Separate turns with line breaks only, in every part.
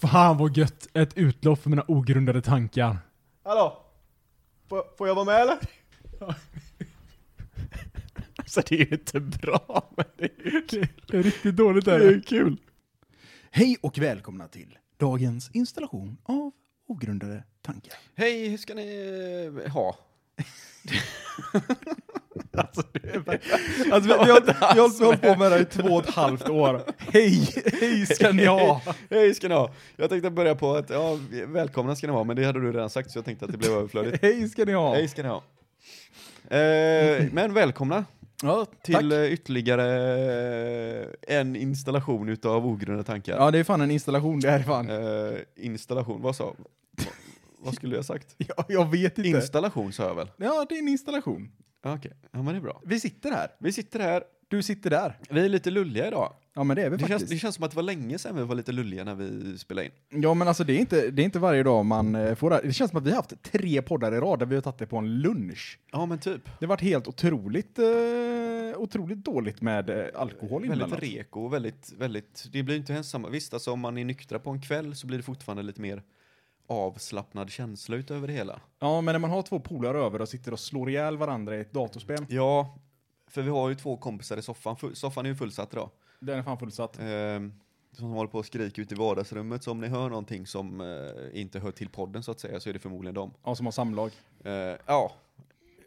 Fan vad gött! Ett utlopp för mina ogrundade tankar.
Hallå? Får, får jag vara med eller?
Alltså det är ju inte bra, men det är ju kul.
Det är riktigt dåligt
Det är ju kul.
Hej och välkomna till dagens installation av ogrundade tankar.
Hej, hur ska ni eh, ha? alltså, det är bara...
Alltså, vi, vi, har, vi har hållit på med det här i två och ett halvt år. Hej, hej ska ni ha!
Hej ska ni ha! Jag tänkte börja på att, ja, välkomna ska ni vara, men det hade du redan sagt så jag tänkte att det blev överflödigt.
Hej ska ni ha!
Hej ska ni ha! Eh, men välkomna
Ja,
till
tack.
eh, ytterligare eh, en installation utav ogrundade tankar.
Ja, det är fan en installation det här är fan.
Eh, installation, vad sa Vad skulle jag sagt?
Jag, jag vet inte.
Installation sa jag väl?
ja, det är en installation.
Ja, Okej, ja men det är bra.
Vi sitter här.
Vi sitter här,
Du sitter där.
vi är lite lulliga idag.
Ja, men det är vi
Det känns,
faktiskt.
det känns som att det var länge sedan vi var lite lulliga när vi spelade in.
Ja, men alltså det är, inte, det är inte varje dag man eh, får det här. Det känns som att vi har haft tre poddar i rad där vi har tagit det på en lunch.
Ja men typ.
Det har varit helt otroligt, eh, otroligt dåligt med eh, alkohol
Väldigt
inblandat.
reko, och väldigt, väldigt, det blir ju inte ens samma, visst alltså om man är nyktra på en kväll så blir det fortfarande lite mer avslappnad känsla utöver det hela.
Ja, men när man har två polare över och sitter och slår ihjäl varandra i ett datorspel.
Ja, för vi har ju två kompisar i soffan, Fu- soffan är ju fullsatt idag.
Den är fan fullsatt.
Ehm, som håller på och skriker ute i vardagsrummet så om ni hör någonting som eh, inte hör till podden så att säga så är det förmodligen dem.
Ja, som har samlag.
Eh, ja,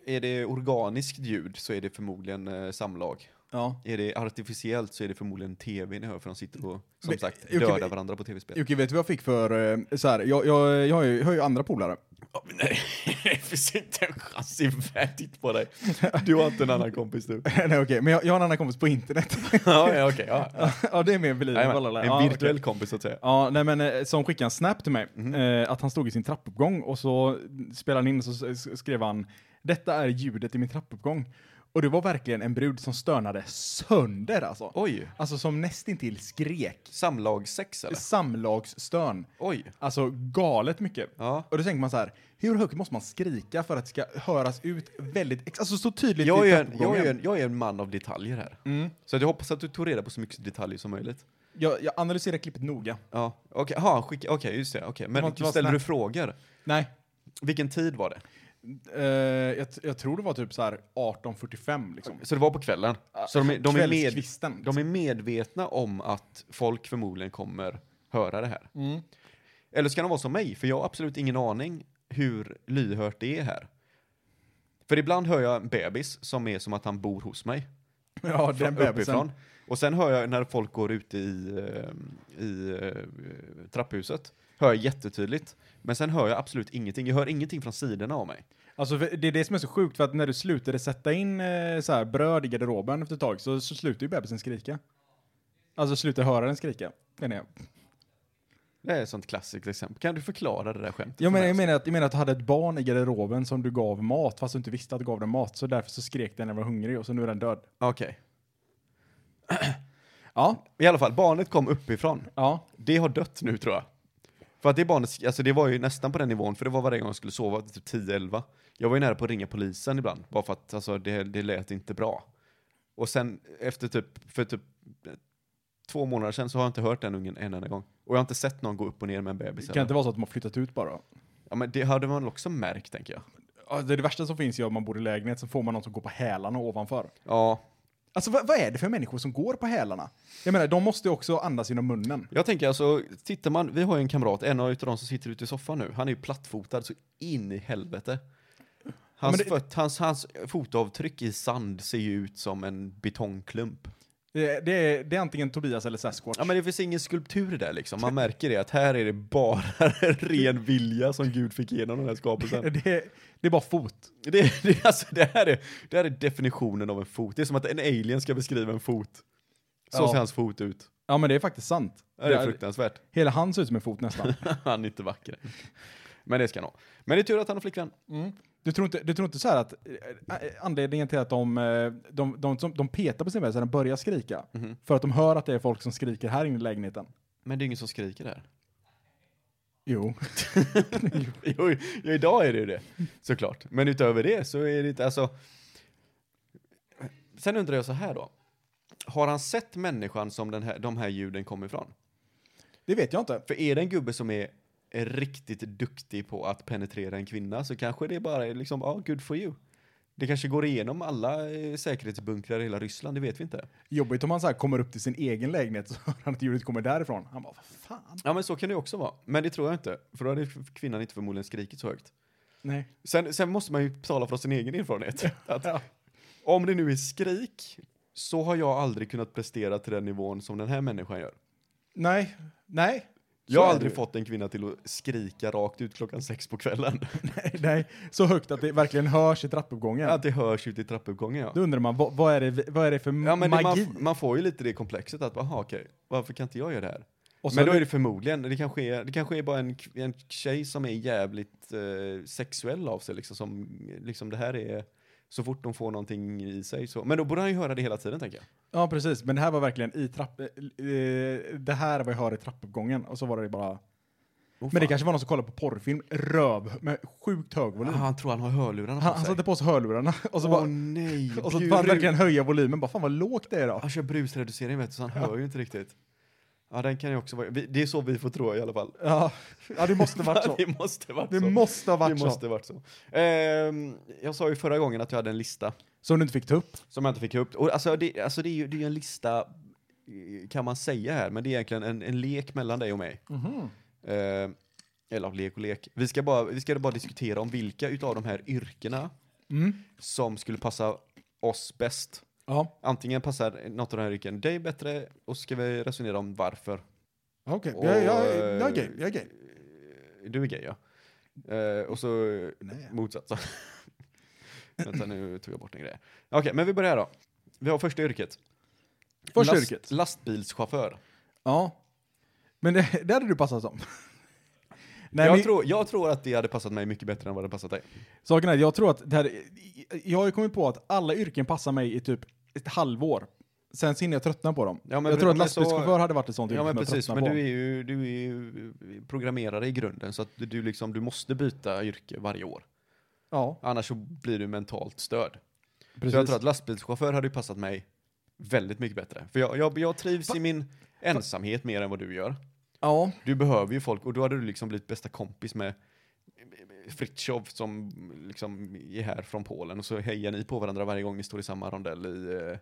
är det organiskt ljud så är det förmodligen eh, samlag.
Ja.
Är det artificiellt så är det förmodligen tv ni hör för de sitter och som
Men,
sagt
okej,
dödar
men-
varandra på tv-spel.
Jocke, vet du vad jag fick för, eh, så här, jag, jag, jag, har ju, jag har ju andra polare.
nej, det finns inte en chans i världen på dig. Du har inte en annan kompis du.
Nej, okej, men jag, jag har en annan kompis på internet.
ja, ja, okej. Ja.
ja, det är mer believable.
Jajamän,
eller?
en
Ja,
virtuell
okej.
kompis så att säga.
Ja, nej men eh, som skickade en snap till mig,
Mhm.
eh, att han stod i sin trappuppgång och så spelade han in och så s- skrev han Detta är ljudet i min trappuppgång. Och det var verkligen en brud som stönade sönder alltså.
Oj,
Alltså som nästintill skrek.
samlagssex eller?
Samlagsstön.
Oj.
Alltså galet mycket.
Ja.
Och då tänker man så här, hur högt måste man skrika för att det ska höras ut väldigt, ex- alltså så tydligt
Jag
i
är, en,
trappuppgången. Mm.
jag, är en, jag är en man av detaljer här. Så att jag hoppas att du tog reda på så mycket detaljer som möjligt.
jag, jag analyserar klippet noga.
Ja, okej, okay, skicka, okej, just det, okej.
Det var
Men
inte bara
ställer du
snack.
frågor?
Nej,
Vilken tid var det?
eh, jag, t- jag tror det var typ så här 18.45 liksom.
Så det var på kvällen? Så de, är- de, är med,
Kvällskvisten. liksom.
de är medvetna om att folk förmodligen kommer höra det här.
liksom. Mm.
Eller ska de vara som mig? För jag har absolut ingen aning hur lyhört det är här. För ibland hör jag en bebis som är som att han bor hos mig.
Ja, den
från,
bebisen.
uppifrån. Och sen hör jag när folk går ute i, eh, i eh, trapphuset, hör jag jättetydligt. Men sen hör jag absolut ingenting. Jag hör ingenting från sidorna av mig.
Alltså, för det är det som är så sjukt, för att när du slutade sätta in eh, så här, bröd i garderoben efter ett tag så, så slutar ju bebisen skrika. Alltså slutar höra den skrika, menar jag.
Det är ett sånt klassiskt exempel. Kan du förklara det där skämtet?
Jag
för
menar,
mig
jag
också?
menar, att, jag menar att du hade ett barn i garderoben som du gav mat, fast du inte visste att du gav den mat, så därför så skrek den när den var hungrig och så nu är den död.
Okej.
Ja,
I alla fall, barnet kom uppifrån.
ja.
Det har dött nu tror jag. För att det barnet, alltså det var ju nästan på den nivån, för det var varje gång jag skulle sova, typ 10-11. Jag var ju nära på att ringa polisen ibland, bara för att alltså, det, det lät inte bra. Och sen efter typ, för typ eh, två månader sedan så har jag inte hört den ungen en enda gång. Och jag har inte sett någon gå upp och ner med en bebis.
Det kan
heller.
inte vara så att de har flyttat ut bara.
Ja men det hade man väl också märkt tänker jag.
Ja, det, är det värsta som finns är om man bor i lägenhet så får man någon som går på hälarna ovanför.
Ja,
Alltså vad, vad är det för människor som går på hälarna? Jag menar, de måste ju också andas genom munnen.
Jag tänker alltså, tittar man, vi har ju en kamrat, en av utav de som sitter ute i soffan nu, han är ju plattfotad så in i helvete. Hans,
Ja, men det-
föt, hans, hans fotavtryck i sand ser ju ut som en betongklump.
Det, det, är, det är antingen Tobias eller Sasquatch.
Ja men det finns ingen skulptur där liksom, man märker det att här är det bara ren vilja som Gud fick igenom den här skapelsen.
Det, det är bara fot.
Det, det, alltså, det, här är, det här är definitionen av en fot, det är som att en alien ska beskriva en fot. Så
Ja.
ser hans fot ut.
Ja, men det är faktiskt sant.
Det är fruktansvärt.
hela han ser ut som en fot nästan.
Han är inte vacker. Men det ska han ha. Men det är tur att han har flickvän.
Du tror inte, du tror inte så här att eh, eh, anledningen till att de, eh, de, de, som- de petar på sin bebis när den börjar skrika,
Mhm.
för att de hör att det är folk som skriker här inne i lägenheten?
Men det är ingen som skriker där.
Jo.
Jo, jo, idag är det ju det, såklart. Men utöver det så är det inte, alltså... Sen undrar jag så här då. Har han sett människan som den här, de här ljuden kom ifrån?
Det vet jag inte.
För är det en gubbe som är riktigt duktig på att penetrera en kvinna så kanske det bara är liksom, ja, good for you. Det kanske går igenom alla eh, säkerhetsbunkrar i hela Ryssland, det vet vi inte.
Jobbigt om han så här kommer upp till sin egen lägenhet så hör han att ljudet kommer därifrån. Han bara, vad fan?
Ja, men så kan det också vara. Men det tror jag inte, för då hade kvinnan inte förmodligen skrikit så högt.
Nej.
Sen, sen måste man ju tala från sin egen erfarenhet. Att
Ja.
om det nu är skrik så har jag aldrig kunnat prestera till den nivån som den här människan gör.
Nej. Nej.
Jag har
är
aldrig
det ju.
fått en kvinna till att skrika rakt ut klockan sex på kvällen.
Nej, nej. Så högt att det verkligen hörs i trappuppgången.
Att det hörs ute i trappuppgången, ja.
Då undrar man, vad, vad, är, det, vad är det för
Ja, men det,
magi?
man, man får ju lite det komplexet att, aha, okej, varför kan inte jag göra det här?
Och så
Men då
det-
är det förmodligen, det kanske är, det kanske är bara en, k- en tjej som är jävligt eh, sexuell av sig, liksom, som, liksom det här är, så fort de får någonting i sig så, men då borde han ju höra det hela tiden tänker jag.
Ja, precis. Men det här var verkligen i trapp... eh, eh, Det här var jag hör i trappuppgången och så var det bara... men det kanske var någon som kollade på porrfilm, röv, med sjukt hög volym.
Ah, han tror han har hörlurarna
han,
på
han
sig.
satte på sig hörlurarna och så,
Åh
bara,
nej!
och så
bjud
bara
ut.
verkligen höja volymen. Bara, fan vad lågt det är idag.
Han kör brusreducering vet du, så han hör ju inte riktigt. Ja, den kan ju också vara, vi, det är så vi får tro i alla fall.
Ja, ja det måste varit så.
det måste varit
Det
så.
måste ha varit
det måste
så.
varit så. Ehm, jag sa ju förra gången att jag hade en lista
Som du inte fick ta upp.
som jag inte fick upp. Och alltså, det, alltså det är ju det är ju en lista, eh, kan man säga här, men det är egentligen en, en lek mellan dig och mig. Ehm, eller lek och lek. Vi ska, bara, vi ska bara diskutera om vilka utav de här yrkena
Mm.
som skulle passa oss bäst.
Ja,
Antingen passar något av de här yrken dig bättre och så ska vi resonera om varför.
okej.
Och,
Jag, jag, jag är
eh,
gay, jag är gay.
Du är gay ja. Eh, och så eh,
Nej.
motsatsen. Vänta nu tog jag bort en grej. Okej, men vi börjar då. Vi har första yrket.
Första yrket.
Lastbilschaufför.
Ja. Men det, det hade du passat som. Nej,
jag,
men-
tror, jag tror att det hade passat mig mycket bättre än vad det hade passat dig.
Saken är, jag tror att det här, jag har ju kommit på att alla yrken passar mig i typ ett halvår. Sen så hinner jag tröttna på dem.
Ja, men-
jag tror att
men så-
lastbilschaufför hade varit ett sånt yrke
Ja men
som jag
precis,
tröttnar
men
på.
du är, ju, du är ju eh, programmerare i grunden så att du, liksom, du måste byta yrke varje år.
Ja,
Annars så blir du mentalt störd.
precis.
Så jag tror att lastbilschaufför hade ju passat mig väldigt mycket bättre. För jag, jag, jag trivs i min ensamhet mer än vad du gör.
Ja,
Du behöver ju folk och då hade du liksom blivit bästa kompis med Fritjof som liksom är här från Polen och så hejar ni på varandra varje gång ni står i samma rondell i eh,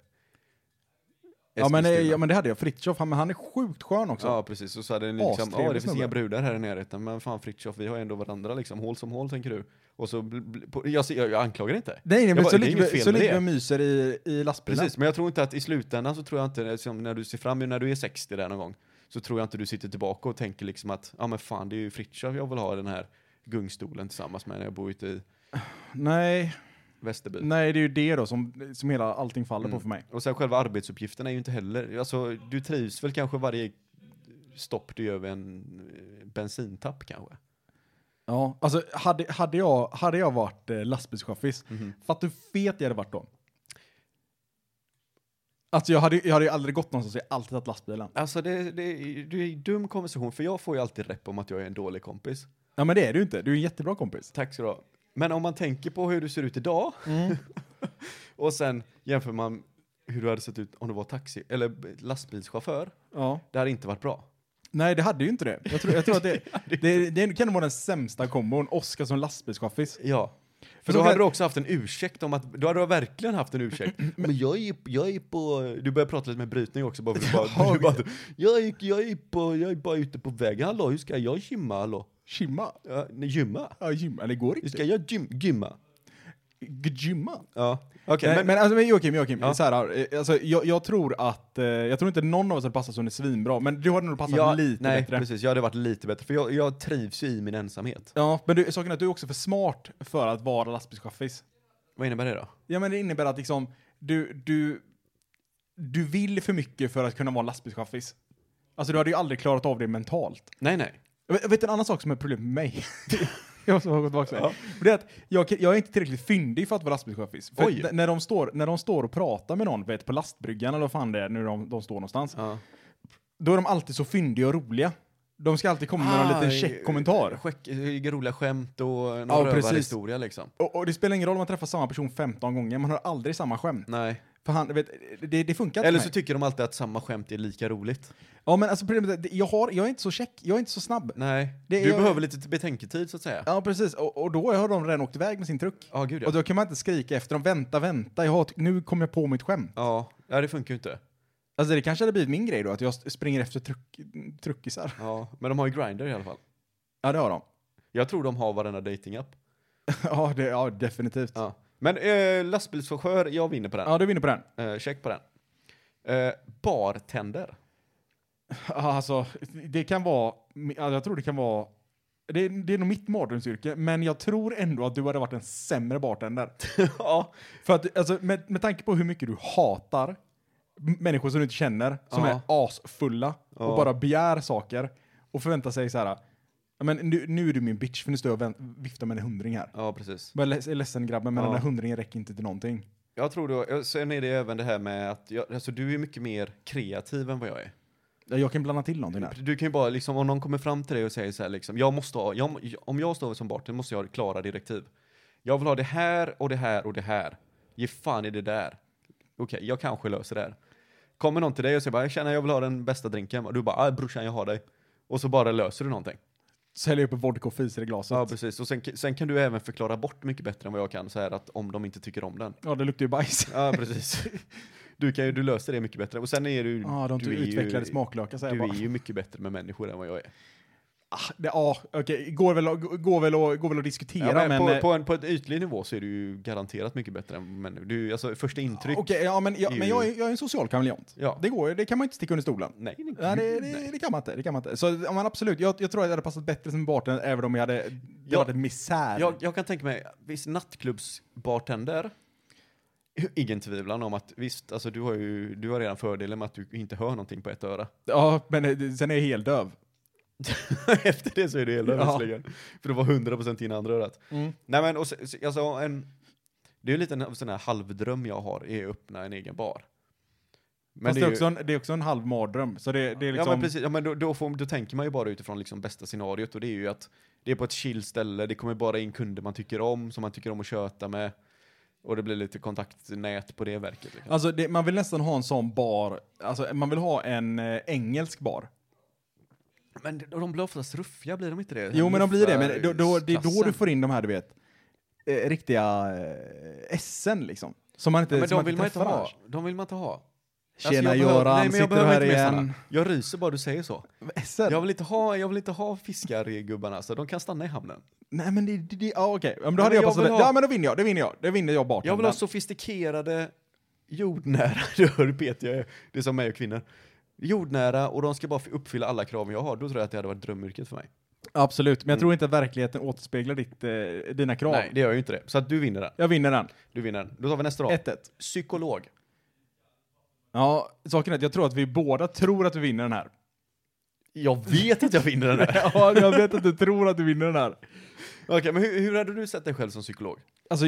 ja, men,
Eskilstuna.
eh, ja men det hade jag. Fritiof, han, men han är sjukt skön också.
Ja, precis. Och så hade ni liksom, ja
Astrevlig
det finns
snubbe.
inga brudar här i närheten, men fan Fritjof, vi har ändå varandra liksom, hål som hål tänker du. Och så, bl- bl- på, jag, ser- jag, jag anklagar inte.
Nej, nej
Jag
men
bara,
så
det är
ligger
inget
vi-
fel
så
med
ligger vi
det.
och myser i, i lastbilen.
Precis, men jag tror inte att i slutändan så tror jag inte, liksom, när du ser fram emot, när du är 60 där någon gång, så tror jag inte du sitter tillbaka och tänker liksom att, ja men fan det är ju Fritjof jag vill ha den här gungstolen tillsammans med när jag bor ute i
Nej,
Västerby.
nej, det är ju det då som, som hela allting faller på
Mm.
för mig.
Och sen själva arbetsuppgifterna är ju inte heller, alltså du trivs väl kanske varje stopp du gör vid en eh, bensintapp kanske?
Ja, alltså hade, hade, jag, hade jag varit eh, lastbilschaffis, fatta hur fet jag hade varit då. Alltså jag hade, jag hade ju aldrig gått någonstans, jag hade alltid tagit lastbilen.
Alltså det, det, det är ju dum konversation, för jag får ju alltid rep om att jag är en dålig kompis.
Ja men det är du inte, du är en jättebra kompis.
Tack så du ha. Men om man tänker på hur du ser ut idag och sen jämför man hur du hade sett ut om du var taxi eller lastbilschaufför,
Ja.
det hade inte varit bra.
Nej det hade ju inte det. Jag tror, jag tror att det, det, det kan nog vara den sämsta kombon, Oskar som lastbilschaffis.
Ja.
Men
För då
då
hade
kan-
du också haft en ursäkt om att, då hade du verkligen haft en ursäkt. Men jag är, jag är på, du börjar prata lite med brytning också bara för du bara, du bara jag, är, jag, är på, jag är bara ute på vägen, hallå hur ska jag gymma hallå?
Gymma?
Ja, nej, gymma?
Ja gymma, det går
Hur
inte.
ska jag gym, gymma?
Gymma?
Ja, okej.
Nej, men,
men,
alltså, men Joakim, Joakim
Ja.
så här, eh, alltså, jag, jag tror att, eh, jag tror inte någon av oss hade passat som är svinbra, men du hade nog passat
jag,
lite
nej,
bättre.
precis, jag hade varit lite bättre för jag, jag trivs ju i min ensamhet.
Ja, men du, saken är att du är också för smart för att vara lastbilschaffis.
Vad innebär det då?
Ja, men det innebär att liksom, du, du, du vill för mycket för att kunna vara lastbilschaffis. Alltså du hade ju aldrig klarat av det mentalt.
Nej, nej.
Jag vet, jag vet en annan sak som är problem med mig. jag måste bara gå tillbaka till det. Det är att jag, kan- jag är inte tillräckligt fyndig för att vara lastbilschaffis. För
Oj.
n- när, de står, när de står och pratar med någon, vet, på lastbryggan eller vad fan det är nu de, de står någonstans,
Ja.
då är de alltid så fyndiga och roliga. De ska alltid komma med någon liten käck kommentar.
Skäck, Ah, roliga skämt och någon
Ja,
ja,
precis.
rövarhistoria liksom.
Och, och det spelar ingen roll om man träffar samma person 15 gånger, man hör aldrig samma skämt.
Nej.
För han, vet, det, det funkar inte
Eller
för
så
mig.
tycker de alltid att samma skämt är lika roligt.
Ja, men alltså problemet är, att jag, har, jag är inte så check, jag är inte så snabb.
Nej,
Det är-
du behöver lite betänketid så att säga. Ja,
Ja, precis. Och, och då har de redan åkt iväg med sin truck.
gud ja.
Och då kan man inte skrika efter dem, vänta, vänta, jag har, nu kom jag på mitt skämt.
Ja, ja, det funkar ju inte.
Alltså det kanske hade blivit min grej då, att jag s- springer efter truck, truckisar.
Ja, men de har ju Grindr i alla fall.
Ja, det har de.
Jag tror de har varenda datingapp.
Ja, det, ja definitivt. Ja.
Ja. Men eh, lastbilschaufför, jag vinner på den.
du vinner på den.
Eh, check på den. Eh, bartender.
Ja, Alltså, det kan vara, ja, jag tror det kan vara, det, det är nog mitt mardrömsyrke, men jag tror ändå att du hade varit en sämre bartender.
ja,
För att, alltså, med, med tanke på hur mycket du hatar m- människor som du inte känner, som
Ja.
är asfulla och
Ja.
bara begär saker och förväntar sig så här, "Ja, men nu, nu är du min bitch för nu står jag och vänt- viftar med en hundring här.
ja, precis.
Jag är ledsen grabben, men
Ja.
den där hundringen räcker inte till någonting.
Jag tror då, eh, sen är det även det här med att, jag, alltså du är mycket mer kreativ än vad jag är.
Ja, Jag kan blanda till någonting där.
Du kan ju bara liksom, om någon kommer fram till dig och säger så här liksom, jag måste ha, jag, om jag står som bartender måste jag ha klara direktiv. Jag vill ha det här och det här och det här. Ge fan i det där. Okej, jag kanske löser det här. Kommer någon till dig och säger bara, tjena jag vill ha den bästa drinken. Och du bara, ah, brorsan jag har dig. Och så bara löser du någonting.
Säljer upp en vodka och fiser i glaset.
Ja,
Ja,
precis. Och sen, sen kan du även förklara bort mycket bättre än vad jag kan, så här att om de inte tycker om den.
det luktar ju bajs.
Ja, precis. Du, kan ju, du löser det mycket bättre. Och sen är du,
Ja, de
du
du
är ju-
utvecklade smaklökar säger
du
jag
är
bara.
ju mycket bättre med människor än vad jag är.
Ah, det, ja, okej. Går, väl, att- går, väl att- går väl att diskutera,
Ja, men
men...
på,
eh,
på, en, på ett ytlig nivå så är du ju garanterat mycket bättre än människor. Du, alltså första intryck.
Okej, ja, men, ja,
är
men
ju-
jag, är, jag är en social kameleont.
Ja.
Det, går, ju, det kan man ju inte sticka under stolen.
Nej, det,
Nej, det, det,
nej.
det kan man inte. Det kan man inte. Så ja, men absolut, jag, jag tror att jag hade passat bättre som bartender även om jag hade, det
Ja.
hade varit misär.
Jag, jag kan tänka mig, visst nattklubbsbartender, ingen tvivlan om att visst, alltså du har ju, du har redan fördelen med att du inte hör någonting på ett öra.
Ja, men eh, sen är jag helt döv.
Efter det så är det hela
Ja.
visserligen. För det var 100% in andra örat. Nej men och så, så- alltså en, det är ju lite en sån här halvdröm jag har, är att öppna en egen bar. Men
Fast det
ju-
är, också en, det är också en halv mardröm. Så det, det är liksom...
Ja men precis, ja, men då, då, får, då tänker man ju bara utifrån liksom bästa scenariot och det är ju att det är på ett chill ställe, det kommer bara in kunder man tycker om, som man tycker om att köta med. Och det blir lite kontaktnät på det verket. Liksom.
Alltså, det, man vill nästan ha en sån bar, alltså man vill ha en eh, engelsk bar.
Men de- de blir oftast ruffiga, blir de inte det?
Jo, men de blir det, men då, då, det är då
Klassen.
du får in de här, du vet, eh, riktiga eh, essen liksom. Som man inte,
Ja, men
som
de vill man inte
träffar
ha.
annars.
De vill man inte ha. Alltså,
Tjena
jag behöver-
Göran,
nej, men jag
sitter du
behöver
här
inte mer
igen?
såna. Jag ryser bara du säger så.
Essen?
Jag vill inte ha, jag vill inte ha fiskargubbarna, så de kan stanna i hamnen.
Nej men det, det, det ja okej. Ja, men då
Ja,
hade
men
jag
jag
passat
vill
det.
ha-
Ja men då vinner jag, det vinner jag. Det vinner jag bartendern.
Jag vill ha sofistikerade, jordnära, du hör hur petig jag är. Det är som mig och kvinnor. Jordnära och de ska bara uppfylla alla krav jag har, då tror jag att det hade varit drömyrket för mig.
Absolut, men jag tror inte att verkligheten återspeglar ditt, eh, dina krav.
Mm. Nej, det gör ju inte det. Så att du vinner den.
Jag vinner den.
Du vinner den. Då tar vi nästa rad.
1-1.
Psykolog.
Ja, saken är att jag tror att vi båda tror att vi vinner den här.
Jag vet att jag vinner den här.
Ja, jag vet att du tror att du vinner den här.
Okej, men hur, hur hade du sett dig själv som psykolog?
Alltså,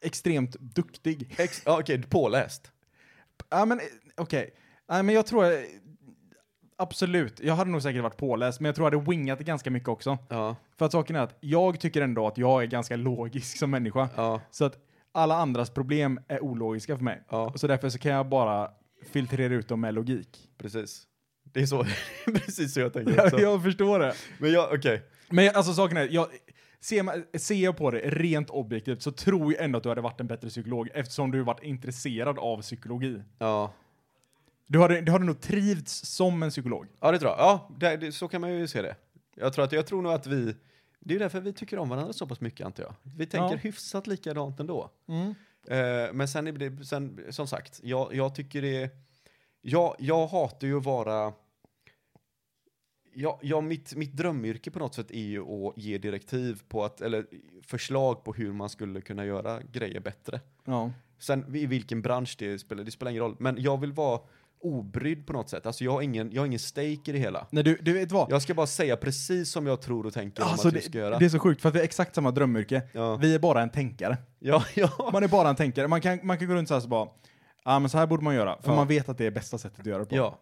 extremt duktig.
Ex- ja, Okej, påläst.
Ja, men eh, okej. Nej, men jag tror... eh, Absolut. Jag hade nog säkert varit påläst, men jag tror jag hade wingat det ganska mycket också.
Ja.
För att saken är att jag tycker ändå att jag är ganska logisk som människa.
Ja.
Så att alla andras problem är ologiska för mig.
Ja.
Så därför så kan jag bara filtrera ut dem med logik.
Precis. Det är så, precis så jag tänker också.
Jag, jag förstår det.
Men jag, okej.
Men jag, alltså saken är, jag, ser, man, ser jag på det rent objektivt så tror jag ändå att du hade varit en bättre psykolog eftersom du varit intresserad av psykologi.
Ja.
Du hade, du hade nog trivts som en psykolog.
ja, det tror jag. Ja, det, det, så kan man ju se det. Jag tror, att, jag tror nog att vi, det är därför vi tycker om varandra så pass mycket antar jag. Vi tänker
Ja.
hyfsat likadant ändå. Eh, men sen, är det, sen, som sagt, jag, jag tycker det är, jag, jag hatar ju att vara, ja, ja, mitt, mitt drömyrke på något sätt är ju att ge direktiv på att, eller förslag på hur man skulle kunna göra grejer bättre.
Ja.
Sen i vilken bransch det spelar, det spelar ingen roll. Men jag vill vara obrydd på något sätt. Alltså jag har ingen, jag har ingen stake i det hela.
Nej, du, du vet vad?
Jag ska bara säga precis som jag tror och tänker
Alltså,
om att vi
det,
ska göra.
det är så sjukt för att vi har exakt samma drömyrke.
Ja.
Vi är bara en tänkare.
ja, ja.
Man är bara en tänkare. Man kan, man kan gå runt så här så bara, ja men så här borde man göra. För
Ja.
man vet att det är bästa sättet att göra det på.
ja,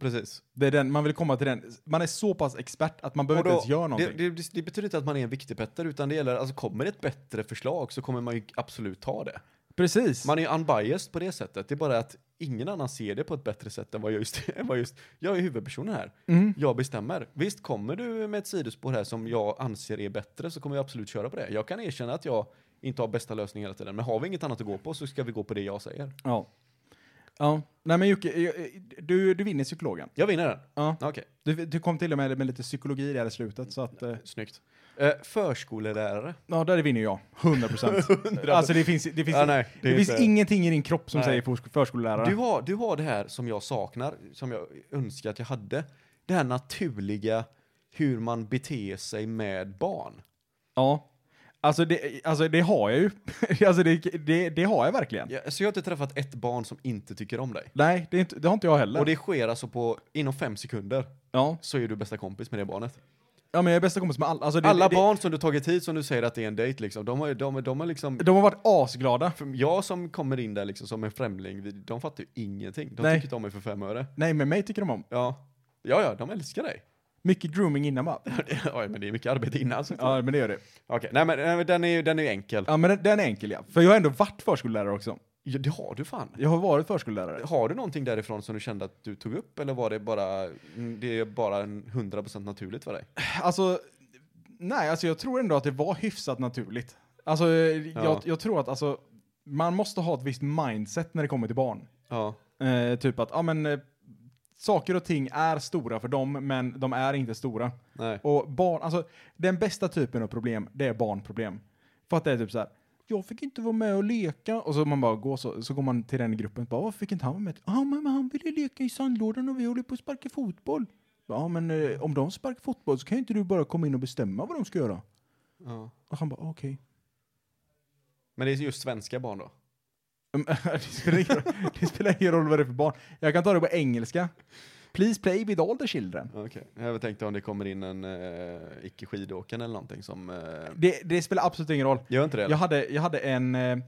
precis.
Det är den, man vill komma till den. Man är så pass expert att man behöver
Och då-
inte ens göra någonting.
Det, det, det betyder inte att man är en viktigpetter, utan det gäller, alltså kommer det ett bättre förslag så kommer man ju absolut ta det.
Precis.
Man är ju unbiased på det sättet. Det är bara att ingen annan ser det på ett bättre sätt än vad jag just, än vad just jag är huvudpersonen här.
Mm.
Jag bestämmer. Visst, kommer du med ett sidospår här som jag anser är bättre så kommer jag absolut köra på det. Jag kan erkänna att jag inte har bästa lösningen hela tiden, men har vi inget annat att gå på så ska vi gå på det jag säger.
Ja. Ja. Nej men Jocke, eh, eh, du, du vinner psykologen.
Jag vinner den.
Ja.
Okej,
Du, du kom till och med med lite psykologi där i slutet så att... eh,
snyggt. Ah, Eh, förskolelärare.
Ja, där vinner jag. 100 procent. alltså det finns, det finns,
Ja, nej, det
det
är
finns
inte- Ah.
ingenting i din kropp som
Nej.
säger försk- förskollärare.
Du har, du har det här som jag saknar, som jag önskar att jag hade. Det här naturliga hur man beter sig med barn.
Ja. Alltså det, alltså det har jag ju. alltså det, det, det har jag verkligen.
Jag, så jag har inte träffat ett barn som inte tycker om dig.
Nej, det, är inte, det har inte jag heller.
Och det sker alltså på, inom fem sekunder
ja.
så är du bästa kompis med det barnet.
ja, men jag är bästa kompis med alla. Alltså det,
Alla
det,
barn som du tagit hit som du säger att det är en dejt liksom, de har, de, de har liksom,
Det, de har varit asglada.
för jag som kommer in där liksom som en främling, vi- de fattar ju ingenting. De
Nej.
tycker inte om mig för fem öre.
Nej, men mig tycker de om.
Ja, ja, ja de älskar dig.
Mycket grooming innan va?
Oj, men det är mycket arbete innan. så-
Ja, men det gör det.
Okej, nej men nej, men den är ju den är ju enkel.
Ja, men den, den är enkel ja. För jag har ändå varit förskollärare också.
Ja, det har du fan.
Jag har varit förskollärare.
Har du någonting därifrån som du kände att du tog upp eller var det bara, mm, det är bara en 100% naturligt för dig?
Alltså, nej, alltså jag tror ändå att det var hyfsat naturligt. Alltså, jag, jag tror att alltså, man måste ha ett visst mindset när det kommer till barn.
Ja.
Eh, typ att, ja men, eh, saker och ting är stora för dem, men de är inte stora.
Nej.
Och barn, alltså den bästa typen av problem, det är barnproblem. För att det är typ så här. Jag fick inte vara med och leka. Och så man bara går så, så går man till den gruppen. Bara, Varför fick inte han vara med? Ja, men han ville leka i sandlådan och vi håller på att sparka fotboll. Ja, men eh, om de sparkar fotboll så kan ju inte du bara komma in och bestämma vad de ska göra.
Ja.
Och han bara, okej.
Men det är just svenska barn då?
Mm, det, spelar ingen roll- det spelar ingen roll vad det är för barn. Jag kan ta det på engelska. Please play with all the children.
Okej. Jag tänkte om det kommer in en eh, icke skidåkande eller någonting som... eh,
Det, det spelar absolut ingen roll.
gör inte det? eller?
Jag hade, jag hade en, eh,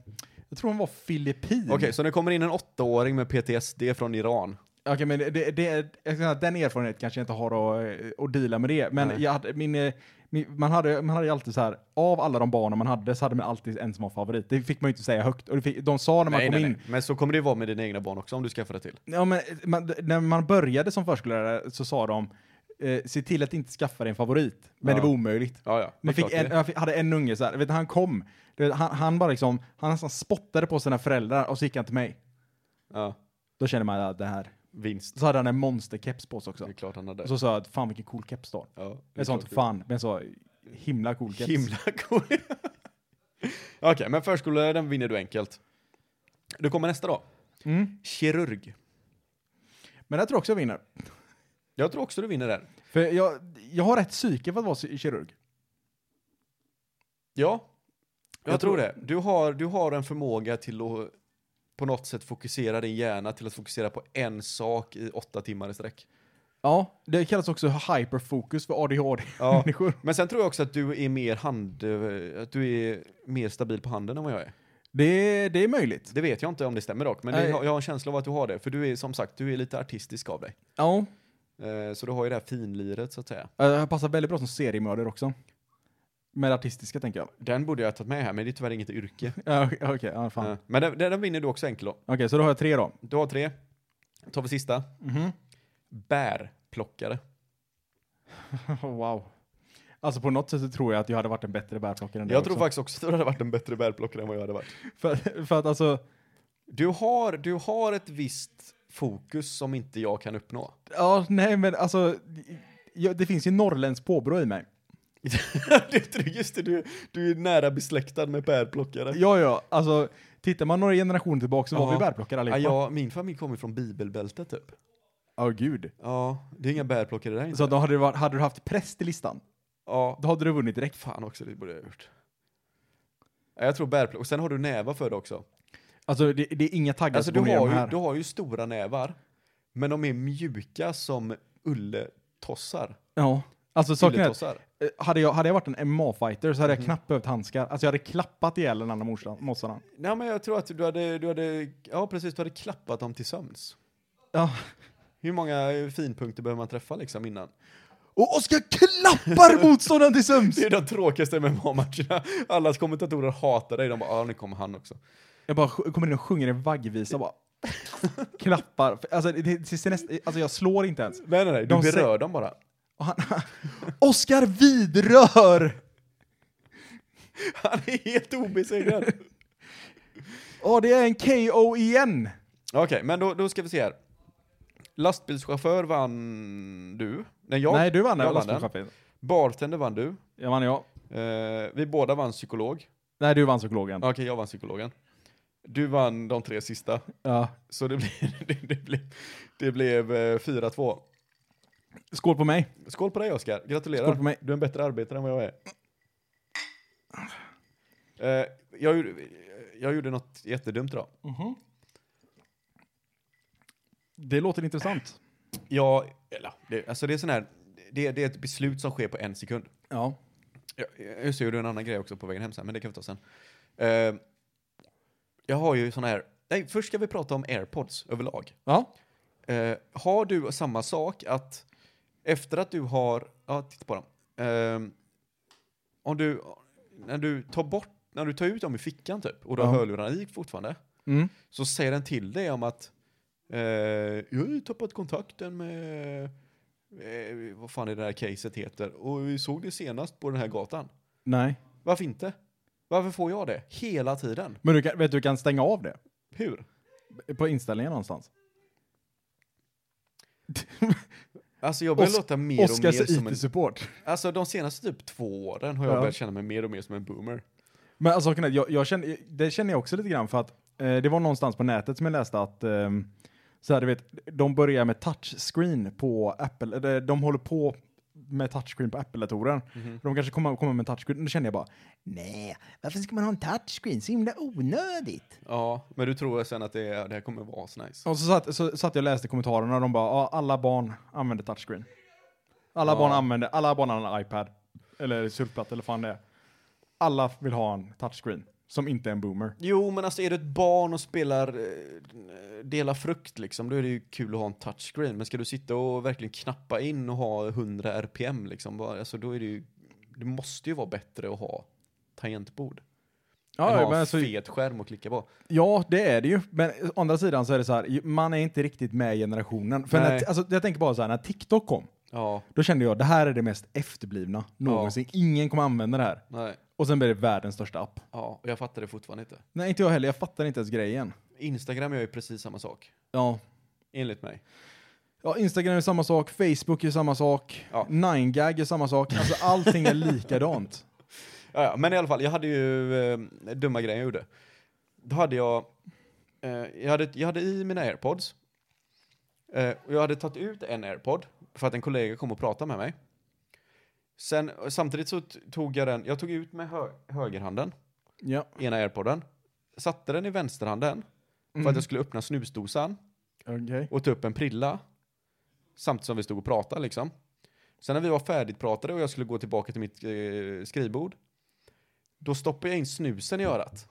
jag tror hon var filippin.
Okej, så det kommer in en åttaåring med PTSD från Iran.
Okej, men det, det, jag ska säga att den erfarenheten kanske jag inte har att, eh, att deala med det. Men
Nej.
jag hade, min, eh, min, man, hade, man hade ju alltid så här, av alla de barnen man hade så hade man alltid en som var favorit. Det fick man ju inte säga högt. Och det fick, de sa när man kom in,
Men så kommer det ju vara med dina egna barn också om du skaffar det till.
ja, men, man, när man började som förskollärare så sa de, eh, se till att inte skaffa dig en favorit. Men
Ja.
det var omöjligt.
Ja, ja. det är
Man
klart
fick
det
en,
är.
jag fick- hade en unge så här, vet, du, han kom, du vet, han, han bara liksom, han nästan spottade på sina föräldrar och så gick han till mig.
Ja,
Då kände man att det här.
vinst.
Så hade han en monsterkeps på sig också.
Det är klart han hade.
Och så sa jag att fan vilken cool keps du har.
ja, det är
Jag sa inte
klart.
fan, men jag sa himla cool keps.
Himla cool. Okej, men förskollärare, den vinner du enkelt. Du kommer nästa då.
Mm.
Kirurg.
Men jag tror också jag vinner.
Jag tror också du vinner där.
För jag, jag har rätt psyke för att vara ki- kirurg.
Ja, jag,
Jag tror-
tror det. Du har, du har en förmåga till att på något sätt fokusera din hjärna till att fokusera på en sak i åtta timmar i sträck.
Ja, det kallas också hyperfokus för
Ja.
ADHD-människor.
Men sen tror jag också att du är mer hand, eh, att du är mer stabil på handen än vad jag är.
Det, det är möjligt.
Det vet jag inte om det stämmer dock, men det,
Nej.
jag har en känsla av att du har det. För du är som sagt, du är lite artistisk av dig.
Ja.
Eh, Så du har ju det här finliret så att säga.
Eh, Jag passar väldigt bra som seriemördare också. Med artistiska tänker jag.
Den borde jag ha tagit med här, men det är tyvärr inget yrke.
Ja, Okej, okay, ja, fan.
Eh, Men den, den vinner du också enkel då.
Okej, så då har jag tre då.
Du har tre. Tar vi sista.
Mm-hmm.
Bärplockare.
wow. Alltså på något sätt så tror jag att jag hade varit en bättre bärplockare än dig
Jag tror
också.
faktiskt också att du hade varit en bättre bärplockare än vad jag hade varit.
För, för att alltså,
Du har, du har ett visst fokus som inte jag kan uppnå.
ja nej men alltså, jag, det finns ju norrländskt påbrå i mig.
det, är- just det, du, du är nära besläktad med bärplockare.
Ja, ja, alltså tittar man några generationer tillbaka så var
Ja.
vi bärplockare
Ja,
allihopa. Ja,
jag, min familj kommer från bibelbältet typ.
gud.
Ja, det är inga bärplockare där inte.
Så då hade du, varit, hade du haft präst i listan,
Ja,
då hade du vunnit direkt.
fan också, det borde jag ha gjort. Ja, Jag tror bärplockare, och sen har du nävar för det också.
Alltså det, det är inga taggar
Alltså
som
du
går ner de
har,
här.
ju, du har ju stora nävar, men de är mjuka som ulletossar.
Ja. Alltså saken är att,
Ulletossar.
eh, hade jag, hade jag varit en MMA-fighter så hade
Mhm.
jag knappt behövt handskar. Alltså jag hade klappat ihjäl den andra morsan- motståndaren.
Nej men jag tror att du hade, du hade, ja precis, du hade klappat dem till sömns.
Ja.
Hur många finpunkter behöver man träffa liksom innan?
Och Oskar klappar motståndaren till sömns!
Det är de tråkigaste MMA-matcherna. Alla kommentatorer hatar dig, de bara ah, nu kommer han också.
Jag bara sj- kommer in och sjunger en vaggvisa och bara klappar. Alltså, det, det, det, nästa, alltså jag slår inte ens.
Nej, nej, nej. Du
De
berör
säger-
dem bara.
Och han, Oskar Vidrör!
Han är helt obesegrad. Okej,
Åh, det är en KO igen!
men då, då ska vi se här. Lastbilschaufför vann du. Nej, jag.
Nej, du vann
jag
den.
vann den.
lastbilschauffören.
Bartender vann du.
Jag vann jag.
Eh, vi båda vann psykolog.
Nej, du vann psykologen.
Okej, jag vann psykologen. Du vann de tre sista.
Ja.
Så det blev, det, det blev, det blev eh, 4-2.
Skål på mig.
Skål på dig Oskar, gratulerar.
Skål på mig.
Du är en bättre arbetare än vad jag är. Eh, jag, gjorde- jag gjorde något jättedumt idag.
Det låter intressant.
Jag, eller, det, alltså det är sån här, det, det är ett beslut som sker på en sekund.
Ja.
Jag, jag ser ju en annan grej också på vägen hem sen, men det kan vi ta sen. Eh, jag har ju sån här, nej först ska vi prata om airpods överlag.
Ja.
Eh, har du samma sak att efter att du har, ja titta på dem. Eh, om du, när du tar bort, när du tar ut dem i fickan typ och du har
Ja.
hörlurarna i fortfarande.
Mm.
Så säger den till dig om att eh, jag har ju tappat kontakten med, eh, vad fan är det här caset heter? Och vi såg det senast på den här gatan.
Nej.
Varför inte? Varför får jag det? Hela tiden.
Men du kan, vet du, du kan stänga av det.
Hur?
På inställningen någonstans.
Alltså jag börjar
Os-
låta mer och mer
Oskars
som en
IT-support.
Alltså de senaste typ två åren har jag
Ja.
börjat känna mig mer och mer som en boomer.
Men alltså, saken är, jag, jag känner, det känner jag också lite grann för att eh, det var någonstans på nätet som jag läste att ehm, så här, du vet, de börjar med touchscreen på Apple, eller de håller på med touchscreen på Apple-datorer. De kanske kommer, kommer med touchscreen. Då känner jag bara, nej, varför ska man ha en touchscreen? Så himla onödigt.
Ja, men du tror sen att det, är- det här kommer vara så nice.
Och så satt, så, satt jag och läste kommentarerna och de bara, ja, alla barn använder touchscreen. Alla
Ja.
barn använder, alla barn använder en iPad. Eller surfplatta eller fan det är. Alla vill ha en touchscreen. Som inte är en boomer.
Jo, men alltså är du ett barn och spelar eh, Dela frukt liksom, då är det ju kul att ha en touchscreen. Men ska du sitta och verkligen knappa in och ha 100 RPM liksom, bara, alltså då är det ju, det måste ju vara bättre att ha tangentbord. än att ha en fet skärm att klicka på.
alltså, Ja, det är det ju. Men å andra sidan så är det så här, man är inte riktigt med i generationen. För
Nej.
när, alltså, jag tänker bara så här, när TikTok kom,
Ja,
då kände jag det här är det mest efterblivna någonsin. Ingen kommer använda det här.
nej,
Och sen blir det världens största app.
ja, och jag fattar det fortfarande inte.
Nej, inte jag heller. Jag fattar inte ens grejen.
Instagram gör ju precis samma sak,
Ja.
enligt mig.
ja, Instagram är samma sak, Facebook är samma sak,
Ja.
9gag är samma sak. Alltså allting är likadant.
Ja, ja, men i alla fall, jag hade ju eh, dumma grejer jag gjorde. Då hade jag, eh, jag, hade, jag hade i mina airpods. Eh, och jag hade tagit ut en airpod för att en kollega kom och pratade med mig. Sen, och samtidigt så t- tog jag den, jag tog ut med hö, högerhanden,
Ja.
ena airpodden. Satte den i vänsterhanden för
Mm.
att jag skulle öppna snusdosan
Okej.
och ta upp en prilla. Samtidigt som vi stod och pratade liksom. Sen när vi var färdigpratade och jag skulle gå tillbaka till mitt eh, skrivbord. Då stoppade jag in snusen i örat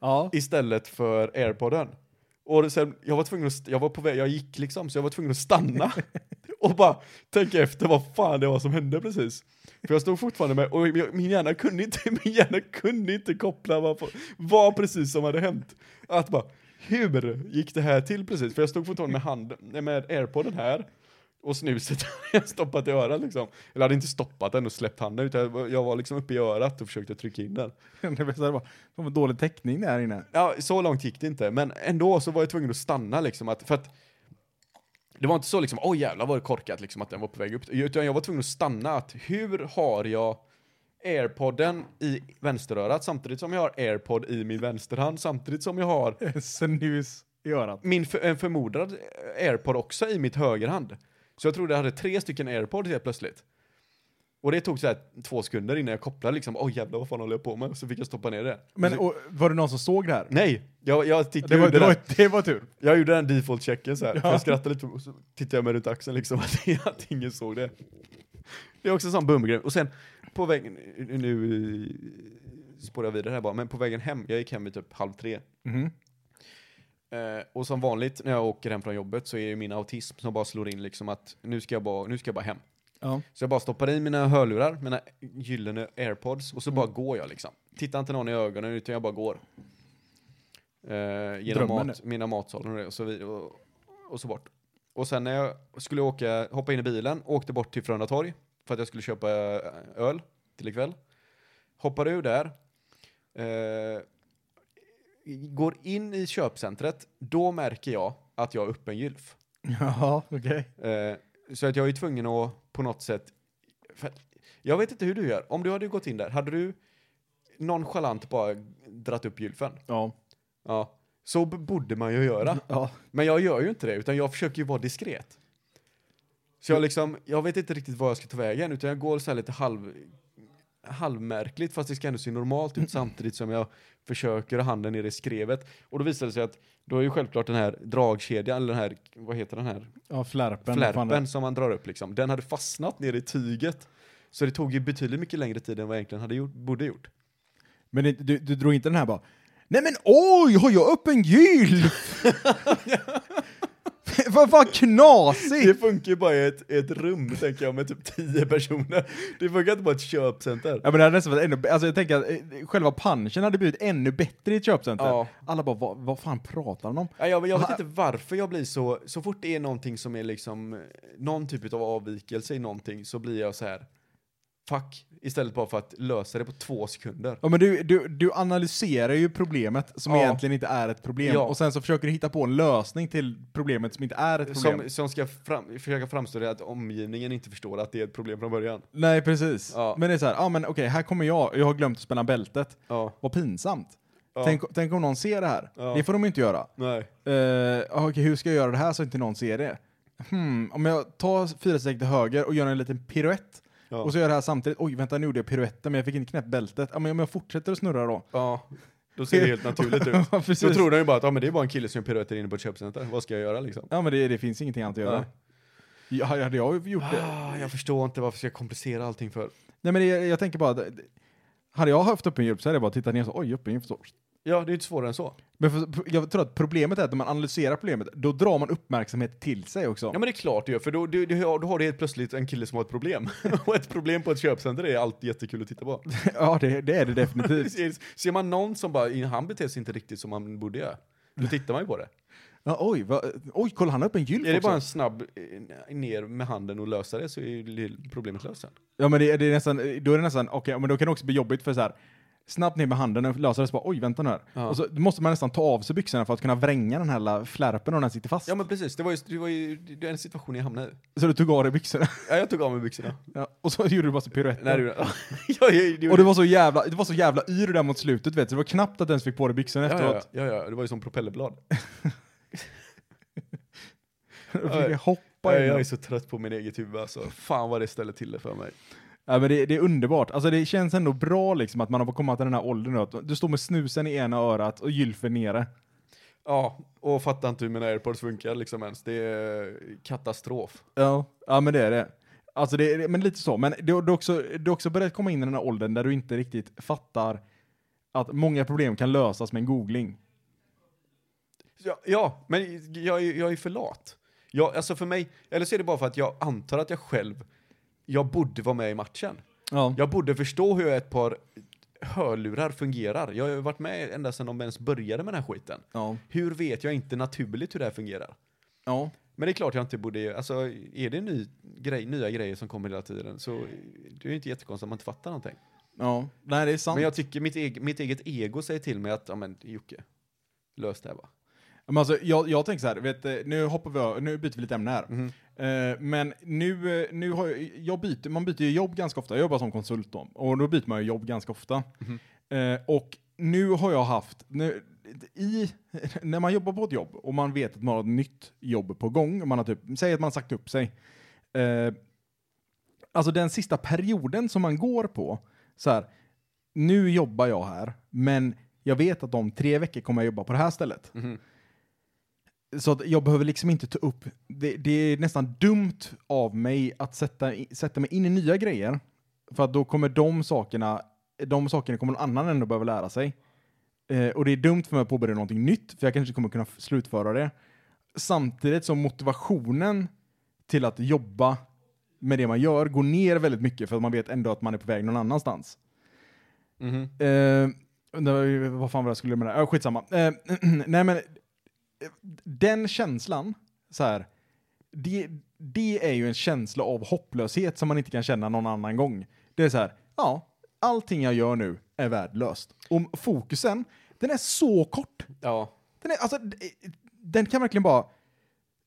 Ja.
istället för airpodden. Och sen, jag var tvungen att, st- jag var på väg, jag gick liksom, så jag var tvungen att stanna. och bara tänka efter vad fan det var som hände precis. För jag stod fortfarande med, och jag- min hjärna kunde inte, min hjärna kunde inte koppla vad, på- vad precis som hade hänt. Att bara, hur gick det här till precis? För jag stod fortfarande med hand, nej, med airpodden här. Och snuset hade jag stoppat i örat liksom. Eller hade inte stoppat den och släppt handen utan jag var- jag var liksom uppe i örat och försökte trycka in den.
Det var så här bara, fan vad dålig täckning det är här inne.
Ja, så långt gick det inte, men ändå så var jag tvungen att stanna liksom att, för att det var inte så liksom, oj jävlar var det korkat liksom att den var på väg upp, utan jag var tvungen att stanna att hur har jag airpodden i vänsterörat samtidigt som jag har airpod i min vänsterhand samtidigt som jag har
Snus i örat.
min för, en förmodad airpod också i mitt högerhand. Så jag trodde jag hade tre stycken airpods helt plötsligt. Och det tog så här två sekunder innan jag kopplade liksom, oj jävlar vad fan håller jag på med? Så fick jag stoppa ner det.
Men
så,
och, var det någon som såg det här?
nej, jag, jag tittade
Det var,
ur
det,
där.
var, det var tur.
Jag gjorde den default-checken så här.
Ja.
för Jag skrattade lite och så tittade jag mig runt axeln liksom att, att ingen såg det. Det är också en sån bumgrej. Och sen på vägen, nu eh, spårar jag vidare här bara, men på vägen hem, jag gick hem vid typ halv tre.
Mhm.
Eh, och som vanligt när jag åker hem från jobbet så är ju min autism som bara slår in liksom att nu ska jag bara, nu ska jag bara hem.
Ja.
Så jag bara stoppar i mina hörlurar, mina gyllene airpods och så bara går jag liksom. Tittar inte någon i ögonen utan jag bara går. Eh, genom
Drömmen
mat, mina matsalar och, det och så vidare. Och, och så bort. Och sen när jag skulle åka, hoppa in i bilen, åkte bort till Frölunda torg för att jag skulle köpa eh, öl till ikväll. Hoppar ur där. Eh, går in i köpcentret. Då märker jag att jag är öppen gylf.
Ja, okej.
Eh, så att jag är ju tvungen att på något sätt... För, att- jag vet inte hur du gör. Om du hade gått in där, hade du nonchalant bara dratt upp gylfen?
Ja.
Ja. Så b- borde man ju göra.
ja.
Men jag gör ju inte det, utan jag försöker ju vara diskret. Så jag liksom, jag vet inte riktigt vad jag ska ta vägen, utan jag går så här lite halv, halvmärkligt, fast det ska ändå se normalt ut samtidigt som jag försöker ha handen nere i skrevet. Och då visar det sig att, då är ju självklart den här dragkedjan, eller den här, vad heter den här,
Ja, flärpen. vad fan det är.
flärpen som man drar upp liksom, den hade fastnat nere i tyget. Så det tog ju betydligt mycket längre tid än vad jag egentligen hade gjort, borde gjort.
Men det, du, du drog inte den här bara, nej men oj, har jag öppen gylf? Vad fan
Det
knasigt!
funkar ju bara i ett, ett rum, tänker jag, med typ tio personer. Det funkar inte bara i ett köpcenter.
Ja men det hade nästan varit ännu bättre, alltså jag tänker att eh, själva punchen hade blivit ännu bättre i ett köpcenter.
Ja.
Alla bara, vad, vad fan pratar de om?
Ja, jag, jag vet inte varför jag blir så, så fort det är någonting som är liksom, eh, någon typ av avvikelse i någonting så blir jag så här, fuck, istället bara för att lösa det på två sekunder.
Ja men du, du, du analyserar ju problemet som
Ja.
egentligen inte är ett problem,
Ja.
och sen så försöker du hitta på en lösning till problemet som inte är ett problem.
Som, som ska fram, försöka framstå det att omgivningen inte förstår att det är ett problem från början.
Nej precis.
Ja.
Men det är så här, ja men okej, här kommer jag, jag har glömt att spänna bältet.
Ja.
Vad pinsamt.
Ja.
Tänk, tänk om någon ser det här.
Ja.
Det får de ju inte göra.
Nej.
Uh, Okej, hur ska jag göra det här så inte någon ser det? Hmm, om jag tar fyra steg till höger och gör en liten piruett
Ja.
och så gör jag det här samtidigt. Oj, vänta, nu gjorde jag piruetten men jag fick inte knäppt bältet. Ja, men om jag fortsätter att snurra då?
Ja. Då ser det helt naturligt ut.
Ja, precis.
Då tror de ju bara att ja, men det är bara en kille som gör piruetter inne på ett köpcenter. Vad ska jag göra liksom?
Ja, men det, det finns ingenting annat att göra.
Nej.
Ja, hade jag gjort det?
Ah, jag förstår inte varför ska jag komplicera allting för.
Nej, men det, jag tänker bara, att- hade jag haft öppen hjälp så hade jag bara tittat ner och så, oj, öppen hjälp. så.
Ja, det är inte svårare än så.
Men för, jag tror att problemet är att när man analyserar problemet, då drar man uppmärksamhet till sig också.
Ja men det är klart du gör, för då, du, du, har- då har du helt plötsligt en kille som har ett problem. och ett problem på ett köpcenter är alltid jättekul att titta på.
Ja, det, det är det definitivt.
Ser- Ser man någon som bara, han beter sig inte riktigt som han borde göra, då tittar man ju på det.
Ja, oj, vad- oj, kolla han har öppen gylf
Är det
också.
bara en snabb eh, ner med handen och lösa det så är ju problemet löst sen.
Ja men det, det är nästan, då är det nästan, okej, men då kan det också bli jobbigt för så här snabbt ner med handen och lösa det så bara, oj vänta nu här.
Ja.
Och så måste man nästan ta av sig byxorna för att kunna vränga den här lilla flärpen om den sitter fast.
Ja men precis, det var ju, det var ju det är en situation jag hamnade i.
Så du tog av dig byxorna.
Ja, jag tog av mig byxorna.
Ja. Och så gjorde du bara så piruetter.
Nej, det gjorde jag. jag, jag,
och det var så jävla, det var så jävla yr där mot slutet vet du, det var knappt att du ens fick på dig byxorna
ja, ja,
efteråt.
ja, ja, det var ju som propellerblad.
Då fick det
Ja,
hoppa in.
jag är så trött på min eget huvud alltså. Fan vad det ställer till det för mig.
Ja, men det, det är underbart. Alltså det känns ändå bra liksom att man har kommit till den här åldern nu. Att du står med snusen i ena örat och gylfen nere.
Ja, och fattar inte hur mina airpods funkar liksom ens. Det är katastrof.
Ja, ja men det är det. Alltså det, det men lite så. Men du har också, det också börjat komma in i den här åldern där du inte riktigt fattar att många problem kan lösas med en googling.
Ja, ja men jag, är- jag är för lat. Jag, alltså för mig, eller så är det bara för att jag antar att jag själv, jag borde vara med i matchen.
Ja.
Jag borde förstå hur ett par hörlurar fungerar. Jag har ju varit med ända sedan de ens började med den här skiten.
Ja.
Hur vet jag inte naturligt hur det här fungerar?
Ja.
Men det är klart jag inte borde, alltså är det ny grej, nya grejer som kommer hela tiden så det är ju inte jättekonstigt att man inte fattar någonting.
ja. Nej, det är sant.
Men
Men,
jag tycker mitt, eg- mitt eget ego säger till mig att, ja men Jocke, lös det här bara.
alltså, jag, jag tänker så här, vet, du, nu hoppar vi ö- nu byter vi lite ämne här.
Mhm.
Eh, men nu, eh, nu har jag, jag byter, man byter ju jobb ganska ofta. Jag jobbar som konsult då, och då byter man ju jobb ganska ofta. Eh, och nu har jag haft, nu, i, när man jobbar på ett jobb och man vet att man har ett nytt jobb på gång, och man har typ, säg att man har sagt upp sig. Eh, alltså den sista perioden som man går på, så här, nu jobbar jag här, men jag vet att om tre veckor kommer jag jobba på det här stället. Så att jag behöver liksom inte ta upp, det, det är nästan dumt av mig att sätta, i- sätta mig in i nya grejer. För att då kommer de sakerna, de sakerna kommer någon annan ändå behöva lära sig. Eh, och det är dumt för mig att påbörja någonting nytt, för jag kanske inte kommer kunna f- slutföra det. Samtidigt som motivationen till att jobba med det man gör går ner väldigt mycket för att man vet ändå att man är på väg någon annanstans.
Mhm.
Eh, undrar ju- vad fan var det jag skulle med det? här? Ja, skitsamma. Eh, nej men, eh, den känslan, så här, det, det är ju en känsla av hopplöshet som man inte kan känna någon annan gång. Det är så här, ja, allting jag gör nu är värdelöst. Och fokusen, den är så kort.
Ja.
Den, är, alltså, d- den kan verkligen bara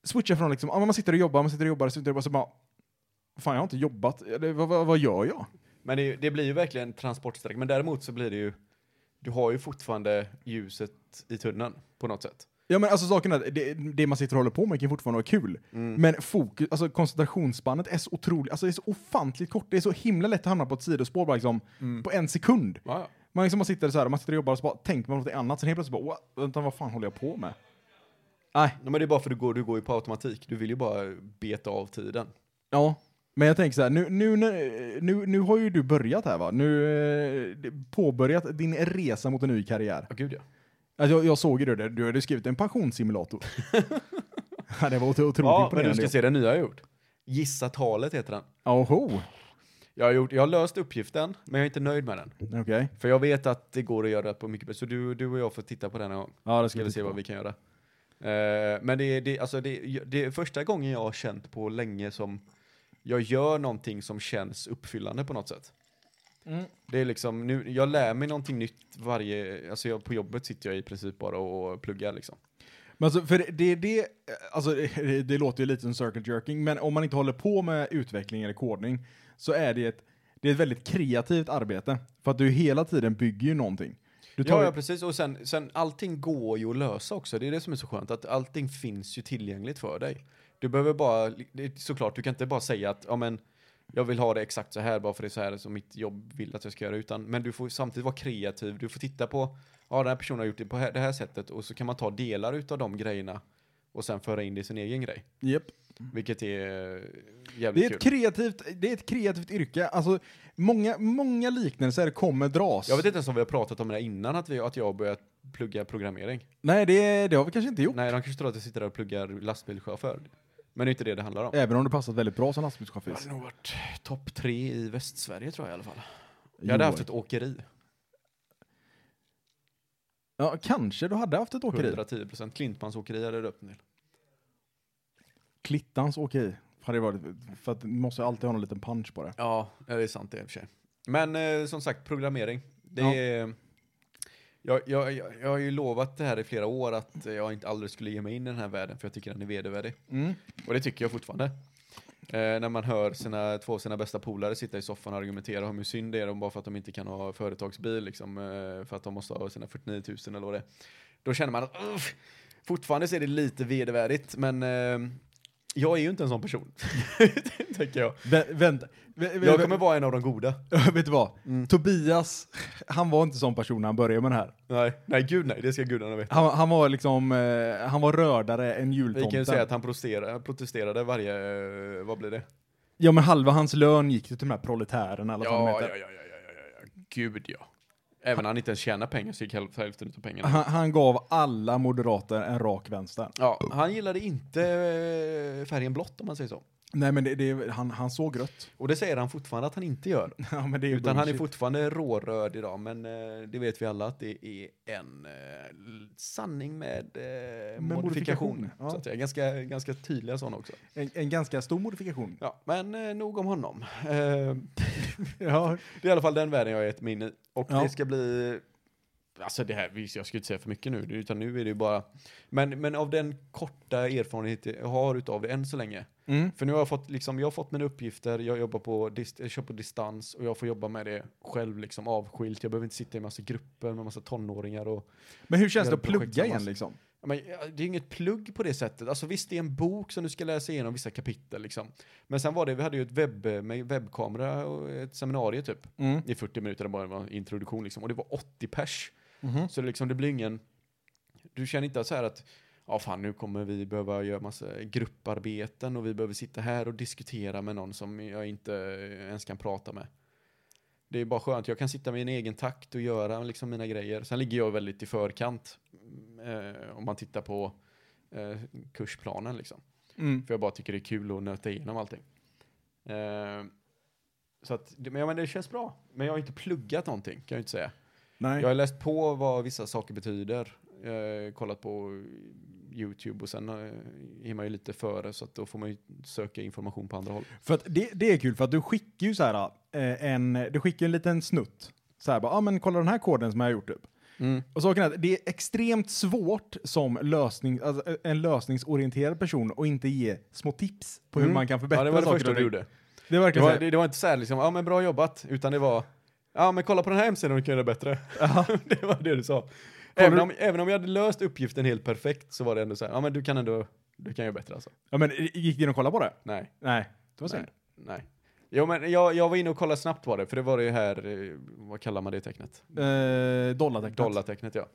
switcha från liksom, ja, men man sitter och jobbar, man sitter och jobbar, sitter och jobbar, så bara, fan jag har inte jobbat, Eller, vad, vad, vad gör jag?
Men det, är ju- det blir ju verkligen en transportsträcka. Men däremot så blir det ju, du har ju fortfarande ljuset i tunneln på något sätt.
Ja men alltså saken är, att det, det man sitter och håller på med kan fortfarande vara kul.
Mm.
Men fokus, alltså koncentrationsspannet är så otroligt, alltså det är så ofantligt kort. Det är så himla lätt att hamna på ett sidospår bara liksom,
Mm.
på en sekund.
Ja, ja.
Man liksom bara sitter så här, man sitter och jobbar och så bara tänker man på något annat, sen helt plötsligt bara, "What? vänta vad fan håller jag på med? Nej,
Nej, men det är bara för att du går, du går ju på automatik. Du vill ju bara beta av tiden.
ja. Men jag tänker så här, nu, nu, nu, nu, nu har ju du börjat här va? Nu eh, påbörjat din resa mot en ny karriär.
Ja, gud ja.
Alltså, jag, jag såg ju det, där. du hade skrivit en pensionssimulator. Ja, det var otro- otroligt
Ja, men du
imponerande.
ska se den nya jag har gjort. Gissa talet heter den.
Oho.
Jag har, gjort, jag har löst uppgiften, men jag är inte nöjd med den.
Okej.
För jag vet att det går att göra på mycket bättre. Så du, du och jag får titta på den en gång.
Ja, det
Ska vi se vad vi kan göra. Eh, men det, är- det, alltså det, det är första gången jag har känt på länge som jag gör någonting som känns uppfyllande på något sätt.
Mm.
Det är liksom, nu, jag lär mig någonting nytt varje, alltså jag, på jobbet sitter jag i princip bara och pluggar liksom.
Men alltså, för det, det, det, alltså, det, det låter ju lite som circle jerking, men om man inte håller på med utveckling eller kodning så är det ett, det är ett väldigt kreativt arbete. För att du hela tiden bygger ju någonting. Du tar,
Ja, ja,
ja,
precis. Och sen, sen allting går ju att lösa också. Det är det som är så skönt, att allting finns ju tillgängligt för dig. Du behöver bara, det är såklart, du kan inte bara säga att, ja men, jag vill ha det exakt så här bara för det är så här som mitt jobb vill att jag ska göra, utan, men du får samtidigt vara kreativ. Du får titta på, ja den här personen har gjort det på här- det här sättet och så kan man ta delar utav de grejerna och sen föra in det i sin egen grej,
Japp.
vilket är eh,
det,
jävligt
Mm. är ett
kul.
kreativt, det är ett kreativt yrke. Alltså, många, många liknelser kommer dras.
Jag vet inte ens om vi har pratat om det här innan, att, vi, att jag har börjat plugga programmering.
Nej, det, det har vi kanske inte gjort.
Nej, de kanske tror att jag sitter där och pluggar lastbilschaufför. Men det är inte det det handlar om.
Även om det passat väldigt bra som lastbilschaufför.
nog varit topp tre i Västsverige tror jag i alla fall. Jag hade haft ett åkeri.
Ja, kanske du hade haft ett åkeri.
110 procent. Klintmans åkeri hade jag döpt den till.
Klittans åkeri. Hade varit, för att du måste ju alltid ha någon liten punch på det.
Ja, det är sant det i och för sig. Men eh, som sagt, programmering. Det
Ja.
är, jag, jag, jag, jag har ju lovat det här i flera år att jag inte aldrig skulle ge mig in i den här världen för jag tycker den är vedervärdig.
Mm.
Och det tycker jag fortfarande. Eh, när man hör sina, två av sina bästa polare sitta i soffan och argumentera om hur synd det är om bara för att de inte kan ha företagsbil, liksom, eh, för att de måste ha sina 49 000 eller vad det är. Då känner man att "Uff." fortfarande så är det lite vedervärdigt, men eh, jag är ju inte en sån person. Tänker jag.
Vä- vänta. Vä- vä-
Jag kommer vara Mm. en av de goda.
Vet du vad? Tobias, han var inte sån person när han började med det här.
Nej, nej gud nej, det ska gudarna veta.
Han, han var liksom, eh, han var rördare än
Vi kan ju
jultomten.
säga att han protesterade, protesterade varje, eh, vad blir det?
Ja men halva hans lön gick till de här proletärerna eller vad fan de
Ja, ja,
heter.
ja, ja, ja, ja, ja, gud ja. Även när han inte ens tjänar pengar så gick hälf- hälften av pengarna.
Han, han gav alla moderater en rak vänster.
Ja, han gillade inte eh, färgen blått om man säger så.
Nej men det, det, han, han såg rött.
Och det säger han fortfarande att han inte gör.
ja, men det är ju
Utan han är
bullshit.
fortfarande råröd idag, men eh, det vet vi alla att det är en eh, l- sanning med, eh, modifikation.
modifikation, ja.
Så att säga. Ganska, ganska tydliga sådana också.
en, en ganska stor modifikation.
Ja, men eh, nog om honom. Eh,
Ja.
Det är i alla fall den världen jag har gett mig in i. Och
Ja.
det ska bli... Alltså det här, visst, jag ska ju inte säga för mycket nu, utan nu är det ju bara... Men, men av den korta erfarenhet jag har utav det än så länge.
Mm.
För nu har jag fått, liksom, jag har fått mina uppgifter, jag jobbar på, dist- jag kör på distans och jag får jobba med det själv, liksom avskilt. Jag behöver inte sitta i massa grupper med massa tonåringar och...
Men hur känns
Gör
det att
projekt
plugga igen
tillsammans.
liksom?
Ja, Men, ja, det är inget plugg på det sättet. Alltså visst, det är en bok som du ska läsa igenom vissa kapitel liksom. Men sen var det, vi hade ju ett webb, med webbkamera och ett seminarium typ
Mm.
i 40 minuter, det bara var en introduktion liksom. Och det var 80 pers.
Mm.
Så det, liksom, det blir ingen, du känner inte så här att, ja fan nu kommer vi behöva göra massa grupparbeten och vi behöver sitta här och diskutera med någon som jag inte ens kan prata med. Det är bara skönt, jag kan sitta med min egen takt och göra liksom mina grejer. Sen ligger jag väldigt i förkant mm, eh, om man tittar på eh, kursplanen liksom.
Mm.
För jag bara tycker det är kul att nöta igenom allting. Eh, så att, men, ja, men det känns bra. Men jag har inte pluggat någonting, kan jag inte säga.
Nej.
Jag har läst på vad vissa saker betyder, eh, kollat på YouTube och sen eh, är man ju lite före så att då får man ju söka information på andra håll.
För att det, det är kul för att du skickar ju så här eh, en, du skickar ju en liten snutt. Så här bara, ja ah, men kolla den här koden som jag har gjort upp. Och saken är att det är extremt svårt som lösning, alltså eh, en lösningsorienterad person att inte ge små tips på hur
Mm.
man kan förbättra
ja, det var det
saker
första
och
du
ting.
gjorde.
Det är
Det
verkligen
var,
så här,
det, det var inte så här liksom, ja men bra jobbat, utan det var, ja men kolla på den här hemsidan och kan göra det bättre. det var det du sa. Även om, även om jag hade löst uppgiften helt perfekt så var det ändå så här, ja men du kan ändå, du kan göra bättre alltså.
Ja men gick det in och kolla på det?
Nej,
Nej, det var
nej,
synd.
nej. Jo men jag, jag var inne och kollade snabbt på det, för det var det här, eh, vad kallar man det tecknet?
Eh, dollartecknet.
Dollartecknet ja.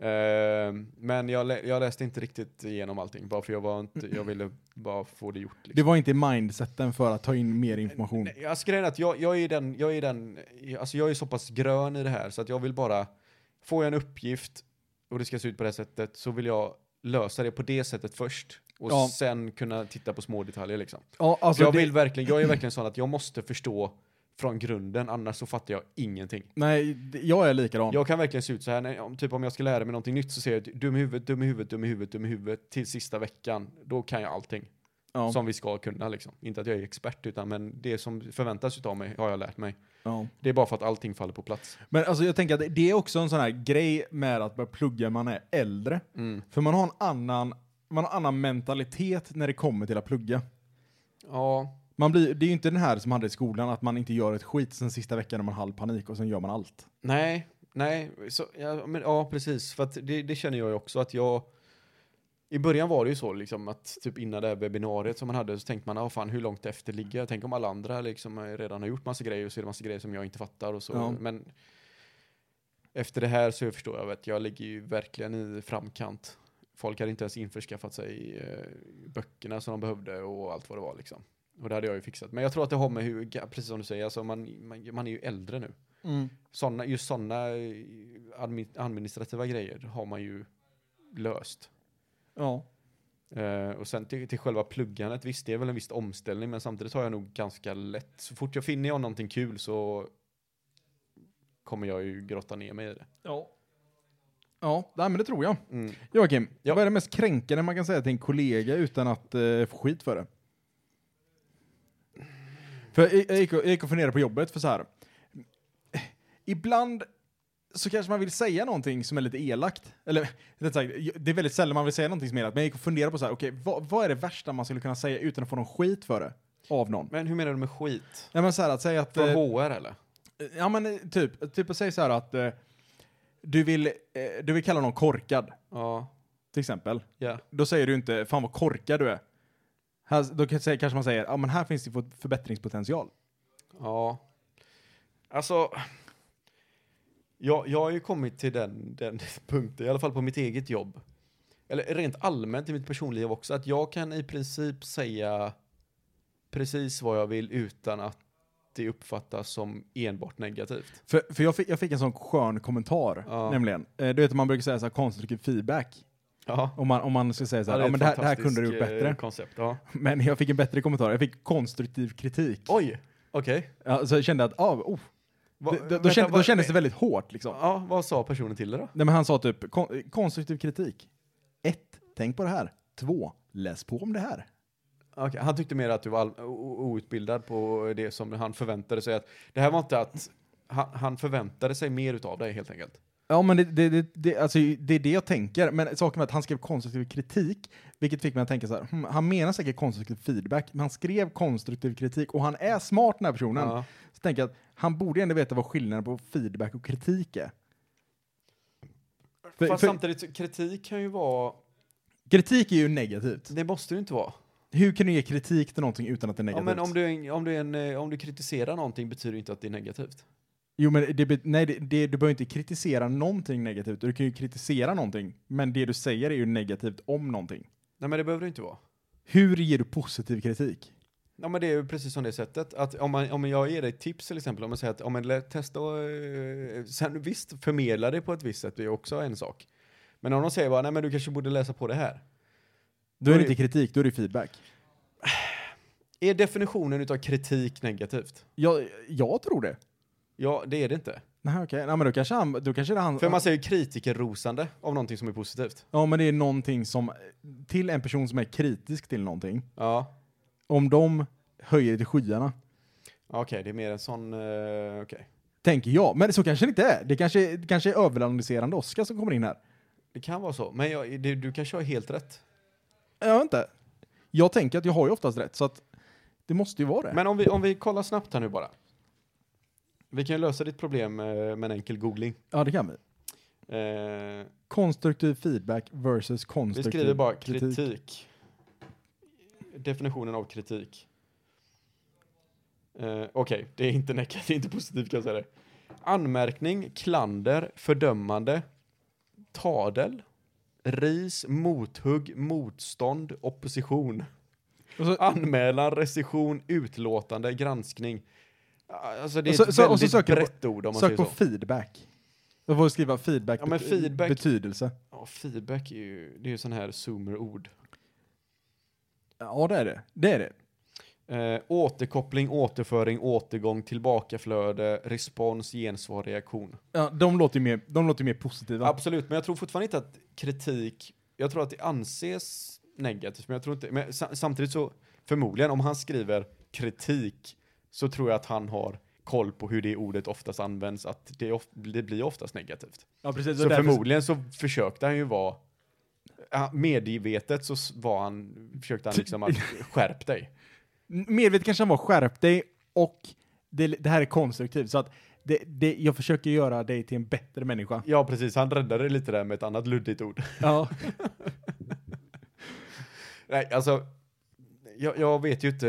Eh, men jag, lä- jag läste inte riktigt igenom allting, bara för jag var inte, jag ville bara få det gjort. liksom.
Det var inte mindseten för att ta in mer information.
Nej, alltså grejen är att jag, jag är den, jag är den, alltså jag är så pass grön i det här så att jag vill bara, får jag en uppgift och det ska se ut på det här sättet så vill jag lösa det på det sättet först och
Ja.
sen kunna titta på små detaljer liksom.
Ja, alltså
jag
det,
vill verkligen, jag är verkligen sån att jag måste förstå från grunden, annars så fattar jag ingenting.
nej, det- jag är likadan.
Jag kan verkligen se ut så här, när, om, typ om jag ska lära mig någonting nytt så ser jag dum i huvudet, dum i huvudet, dum i huvudet, dum i huvudet till sista veckan. Då kan jag allting
ja,
som vi ska kunna liksom. Inte att jag är expert utan men det som förväntas av mig har jag lärt mig.
ja.
Det är bara för att allting faller på plats.
Men alltså jag tänker att det är också en sån här grej med att börja plugga när man är äldre. För man har en annan, man har en annan mentalitet när det kommer till att plugga.
Ja,
Man blir, det är ju inte den här som hade i skolan, att man inte gör ett skit sen sista veckan när man har halv panik och sen gör man allt.
nej, nej, så, ja, men, ja precis. För att det, det känner jag ju också att jag... I början var det ju så liksom att typ innan det här webbinariet som man hade så tänkte man, ah, fan hur långt efter ligger jag? Tänk om alla andra liksom eh, redan har gjort massa grejer och så är det massa grejer som jag inte fattar och så.
Ja.
Men efter det här så förstår jag att jag ligger ju verkligen i framkant. Folk hade inte ens införskaffat sig eh, böckerna som de behövde och allt vad det var liksom. Och det hade jag ju fixat. Men jag tror att det har med hur, ga- precis som du säger, alltså man, man, man är ju äldre nu. Såna, just sådana administrativa grejer har man ju löst.
Ja.
Eh, och sen till, till själva pluggandet, visst det är väl en viss omställning men samtidigt har jag nog ganska lätt, så fort jag finner jag någonting kul så kommer jag ju grotta ner mig i det.
Ja. Ja, nej, men det tror jag.
Mm.
Joakim,
Ja.
vad är det mest kränkande man kan säga till en kollega utan att eh, få skit för det? För jag, jag, gick och, jag gick och funderade på jobbet för så här. Ibland så kanske man vill säga någonting som är lite elakt. Eller rätt sagt, det är väldigt sällan man vill säga någonting som är elakt. Men jag gick och funderade på så här, okej, vad, vad är det värsta man skulle kunna säga utan att få någon skit för det? Av någon.
Men hur menar du med skit?
Nej men så här att säga att...
Från
eh,
HR eller?
Ja men eh, typ, typ att säga så här att eh, du, vill, eh, du vill kalla någon korkad,
Ja,
till exempel.
ja.
Då säger du inte fan vad korkad du är. Här, då kan- säger- kanske man säger ja men här finns det fort- förbättringspotential.
Ja. Alltså, jag, jag har ju kommit till den, den punkten, i alla fall på mitt eget jobb. Eller rent allmänt i mitt personliga också, att jag kan i princip säga precis vad jag vill utan att det uppfattas som enbart negativt.
För, för jag, fick, jag fick en sån skön kommentar
Ja.
nämligen. Eh, du vet man brukar säga så här konstruktiv feedback.
Ja.
Om man, om man ska säga så här, ja, men det här, det här kunde du
eh,
gjort bättre.
koncept, ja.
Men jag fick en bättre kommentar, jag fick konstruktiv kritik.
Oj, okej.
Ja, så jag kände att, ah, oh,
Va-
det, då,
vänta,
då, kände, då
va-
kändes det väldigt hårt liksom.
Ja, vad sa personen till dig då?
Nej, men han sa typ kon konstruktiv kritik. Ett, Tänk på det här. Två, Läs på om det här.
Okej, Han tyckte mer att du var all- o- o- outbildad på det som han förväntade sig. Att, det här var inte att han, han förväntade sig mer utav dig helt enkelt.
Ja, men det, det, det, det, alltså, det är det jag tänker. Men saken är att han skrev konstruktiv kritik, vilket fick mig att tänka så här. Hmm, han menar säkert konstruktiv feedback, men han skrev konstruktiv kritik och han är smart den här personen.
Ja.
Så tänker jag att han borde ändå veta vad skillnaden på feedback och kritik är. För,
Fast
för,
samtidigt, kritik kan ju vara...
kritik är ju negativt.
Det måste ju inte vara.
Hur kan du ge kritik till någonting utan att det är
Ja,
negativt?
men om du, är en- om, du är en, eh, om du kritiserar någonting betyder ju inte att det är negativt.
Jo, men det, be- nej, det, det, du behöver inte kritisera någonting negativt. Du kan ju kritisera någonting, men det du säger är ju negativt om någonting.
Nej, men det behöver det inte vara.
Hur ger du positiv kritik?
Ja, men det är ju precis som det sättet. Att om, man, om jag ger dig ett tips till exempel, om man säger att om man lä- testa och, eh, sen visst, förmedla det på ett visst sätt, det är också en sak. Men om de säger bara, nej men du kanske borde läsa på det här.
Då är det
Oj.
inte kritik, då är det feedback.
Är definitionen utav kritik negativt?
Jag, jag tror det.
Ja, det är det inte.
Nej, okej. Nej, men då kanske, han, då kanske det är han...
För man säger ju kritikerrosande av någonting som är positivt.
Ja, men det är någonting som... Till en person som är kritisk till någonting.
Ja,
Om de höjer till skyarna,
okej, det är mer en sån, uh, okej.
tänker jag. Men så kanske det inte är. Det kanske, det kanske är överanalyserande Oskar som kommer in här.
Det kan vara så, men jag, det, du kanske har helt rätt.
Jag vet inte. Jag tänker att jag har ju oftast rätt, så att det måste ju vara det.
Men om vi, om vi kollar snabbt här nu bara. Vi kan ju lösa ditt problem eh, med en enkel googling.
ja, det kan vi.
Eh,
Konstruktiv feedback versus
vi
konstruktiv
skriver bara kritik. Definitionen av kritik. Eh, Okej, det är inte negativt, det är inte positivt kan jag säga det. Anmärkning, klander, fördömande, tadel, ris, mothugg, motstånd, opposition.
Och så,
Anmälan, recension, utlåtande, granskning. Alltså det är
Och så-
ett
så- och så
väldigt
söker jag
brett ord om man
sök
säger
på
så.
feedback. Då får du skriva feedback,
Ja, men
bet-
feedback-
betydelse.
ja, feedback är ju, det är ju sån här zoomer-ord.
Ja, det är det. Det är det.
Eh, återkoppling, återföring, återgång, tillbakaflöde, respons, gensvar, reaktion.
Ja, de låter ju mer, de låter ju mer positiva.
Absolut, men jag tror fortfarande inte att kritik, jag tror att det anses negativt, men jag tror inte, men sa- samtidigt så förmodligen om han skriver kritik så tror jag att han har koll på hur det ordet oftast används, att det, of, det blir oftast negativt.
ja, precis.
Så,
Och därför-
förmodligen så försökte han ju vara ja, medvetet så s- var han, försökte han liksom att skärp dig.
Medvetet kanske han var skärp dig och det, det här är konstruktivt. Så att det, det, jag försöker göra dig till en bättre människa.
Ja precis, han räddade det lite där med ett annat luddigt ord.
Ja.
Nej, alltså, jag, jag vet ju inte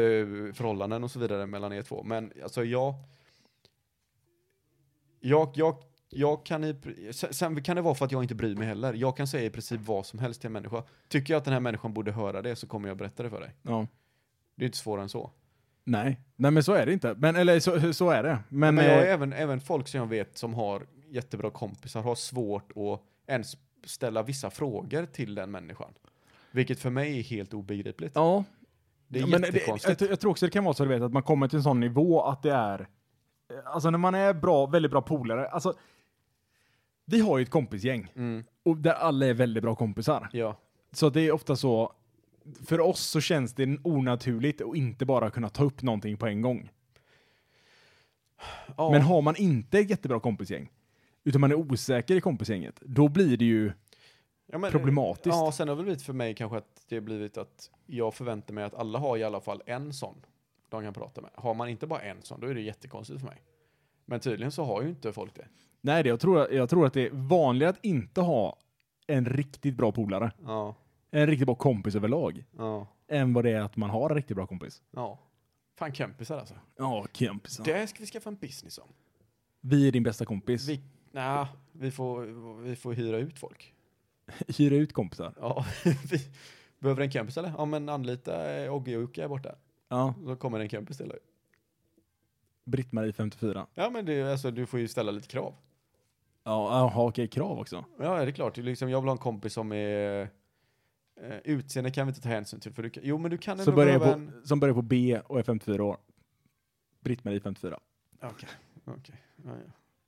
förhållanden och så vidare mellan er två, men alltså jag... Jag, jag, jag kan i, pri- sen- sen kan det vara för att jag inte bryr mig heller. Jag kan säga i princip vad som helst till en människa. Tycker jag att den här människan borde höra det så kommer jag berätta det för dig.
ja.
Det är inte svårare än så.
Nej. Nej, men så är det inte. Men, eller så, så är det. Men,
Men jag har
eh,
även, även folk som jag vet som har jättebra kompisar har svårt att ens ställa vissa frågor till den människan. Vilket för mig är helt obegripligt.
ja.
Det är
men
jättekonstigt.
jag, jag tror också det kan vara så du vet, att man kommer till en sån nivå att det är... eh, Alltså när man är bra, väldigt bra polare. Alltså, vi har ju ett kompisgäng
Mm,
och där alla är väldigt bra kompisar.
ja.
Så det är ofta så... För oss så känns det onaturligt att inte bara kunna ta upp någonting på en gång.
Ja.
Men har man inte ett jättebra kompisgäng, utan man är osäker i kompisgänget, då blir det ju...
Ja, men,
problematiskt.
Ja, sen har det blivit för mig kanske att det har blivit att jag förväntar mig att alla har i alla fall en sån de kan prata med. Har man inte bara en sån, då är det jättekonstigt för mig. Men tydligen så har ju inte folk det.
Nej, det, jag, tror, jag tror att det är vanligare att inte ha en riktigt bra polare,
Ja,
en riktigt bra kompis överlag,
ja,
än vad det är att man har en riktigt bra kompis.
ja. Fan kämpisar alltså.
Ja, kompisar.
Det ska vi skaffa en business om.
Vi är din bästa kompis.
Vi, nja, vi, får, vi får hyra ut folk.
Hyra ut kompisar.
Ja, vi, behöver en kompis eller? Ja, men anlita eh, Ogge och Jocke här borta.
Ja.
Då kommer en kompis till dig.
Britt-Marie 54.
Ja, men det, är- alltså, du får ju ställa lite krav.
Ja, jaha, okej, krav också.
Ja, det är klart. Det är liksom, jag vill ha en kompis som är... Eh, utseende kan vi inte ta hänsyn till. För du, kan- jo, men du kan
Som börjar,
behöva
på, som börjar på B och är 54 år. Britt-Marie 54.
Okej. Ja, ja.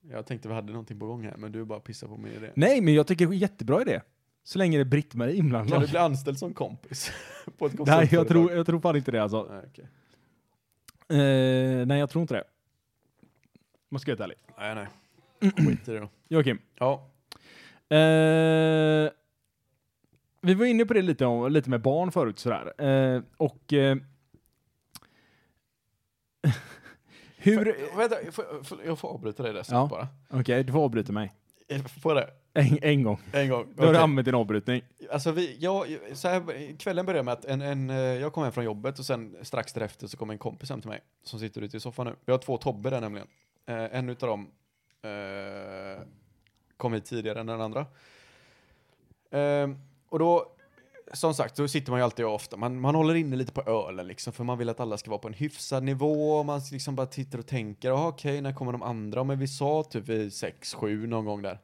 Jag tänkte vi hade någonting på gång här, men du bara pissar på mig i det.
Nej, men jag tycker det är jättebra idé. Så länge det är Britt-Marie
Kan du
inblandad.
bli anställd som kompis? på ett
Nej,
konsultföretag?
jag tror, jag tror fan inte det alltså.
Nej, okej.
Eh, nej, jag tror inte det. Man ska vara helt ärlig.
nej, nej. Skit i det då.
Joakim.
Ja,
Eh, vi var inne på det lite, om, lite med barn förut sådär. Eh, och... Eh, hur...
För, vänta, får, får, jag får avbryta dig där snabbt
Ja.
bara.
Okej, du får avbryta mig.
Eh, Får jag det?
En, en gång.
En gång.
Då har du
Okej.
använt din avbrytning.
Alltså vi, jag, så här, kvällen började med att en, en, eh, jag kom hem från jobbet och sen strax därefter så kom en kompis hem till mig som sitter ute i soffan nu. Vi har två Tobbe där nämligen. Eh, en utav dem eh, kom hit tidigare än den andra. Eh, och då, som sagt, så sitter man ju alltid och ofta. Man, man håller inne lite på ölen liksom för man vill att alla ska vara på en hyfsad nivå. Man liksom bara tittar och tänker, "Ah, okej, när kommer de andra? Men vi sa typ vid sex, sju någon gång där.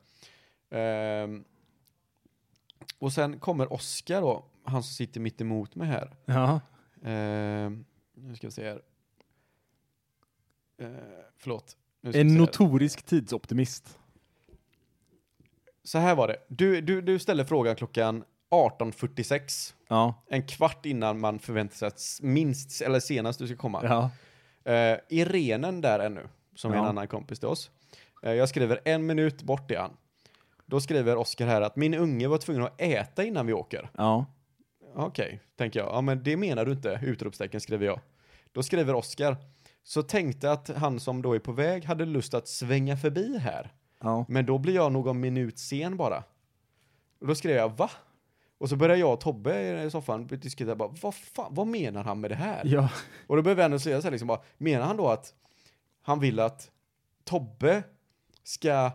Ehm, och sen kommer Oskar då, han som sitter mitt emot mig här.
Ja.
Ehm, Nu ska vi se här. Eh, förlåt. Nu ska vi
En
se här.
notorisk tidsoptimist.
Så här var det. Du, du, du ställde frågan klockan 18.46.
Ja.
En kvart innan man förväntar sig att s- minst, eller senast du ska komma.
ja.
Eh, I renen där ännu, som är en
Ja.
annan kompis till oss. Eh, jag skriver en minut bort är han. Då skriver Oskar här att min unge var tvungen att äta innan vi åker.
Ja.
Okej, tänker jag. Ja, men det menar du inte, utropstecken skriver jag. Då skriver Oskar. Så tänkte att han som då är på väg hade lust att svänga förbi här.
Ja.
Men då blir jag någon minut sen bara. Och då skrev jag va? Och så började jag och Tobbe i soffan diskutera bara, vad fan, vad menar han med det här?
Ja.
Och då behöver jag ändå säga så här liksom bara, menar han då att han vill att Tobbe ska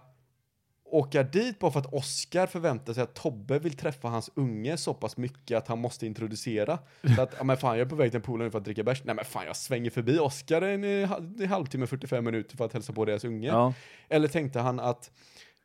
åka dit bara för att Oscar förväntar sig att Tobbe vill träffa hans unge så pass mycket att han måste introducera. Så att, ja men fan jag är på väg till en polare nu för att dricka bärs. Nej men fan jag svänger förbi Oscar en, eh, hal- en halvtimme, 45 minuter för att hälsa på deras unge.
Ja.
Eller tänkte han att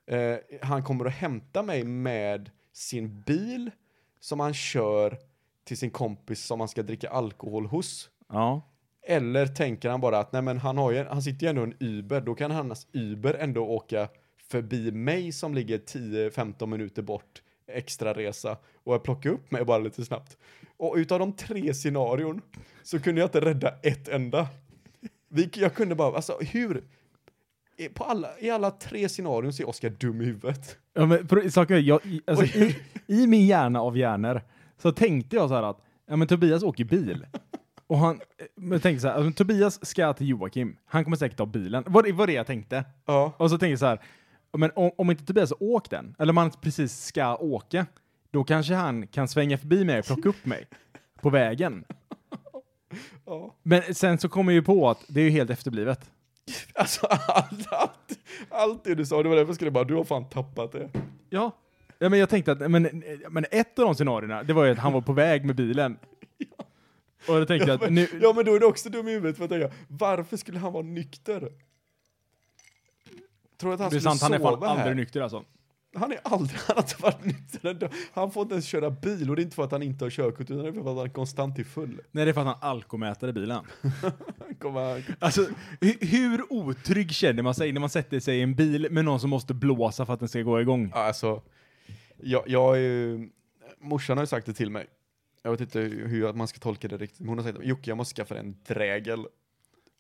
eh, han kommer att hämta mig med sin bil som han kör till sin kompis som han ska dricka alkohol hos?
Ja.
Eller tänker han bara att nej men han, har ju, han sitter ju ändå i en Uber, då kan hans Uber ändå åka förbi mig som ligger 10-15 minuter bort extra resa och plocka upp mig bara lite snabbt. Och utav de tre scenarion så kunde jag inte rädda ett enda. Vi- Jag kunde bara, alltså hur? i- På alla, I alla tre scenarion så är Oskar dum i huvudet.
Ja, men för, saken är, jag, i- alltså,
Oj.
i, i min hjärna av hjärnor så tänkte jag så här att, ja men Tobias åker bil. Och han, eh, men jag tänkte så här, alltså, Tobias ska till Joakim, han kommer säkert ta bilen. Vad det var det jag tänkte.
Ja.
Och så tänkte jag så här, ja, men om, om inte Tobias har åkt den, eller om han precis ska åka, då kanske han kan svänga förbi mig och plocka upp mig på vägen.
ja.
Men sen så kommer jag ju på att det är ju helt efterblivet.
Alltså allt, allt, allt det du sa, det var därför jag skulle bara, du har fan tappat det.
Ja. ja men jag tänkte att men, men ett av de scenarierna, det var ju att han var på väg med bilen. Och då tänkte jag att nu...
Ja men då är det också dum i huvudet för att tänka, varför skulle han vara nykter? Tror du att han
det är
skulle
sant, han är fan
sova här?
aldrig nykter alltså.
han är aldrig, han har inte varit nykter en dag. Han får inte ens köra bil och det är inte för att han inte har körkort utan det är för att han konstant är full.
Nej, det är för att han alkomätare bilen.
Han kommer,
Alltså, hu- hur otrygg känner man sig när man sätter sig i en bil med någon som måste blåsa för att den ska gå igång?
Ja, alltså, jag, jag är ju, morsan har ju sagt det till mig. Jag vet inte hur man ska tolka det riktigt, men hon har sagt Jocke jag måste skaffa dig en drägel.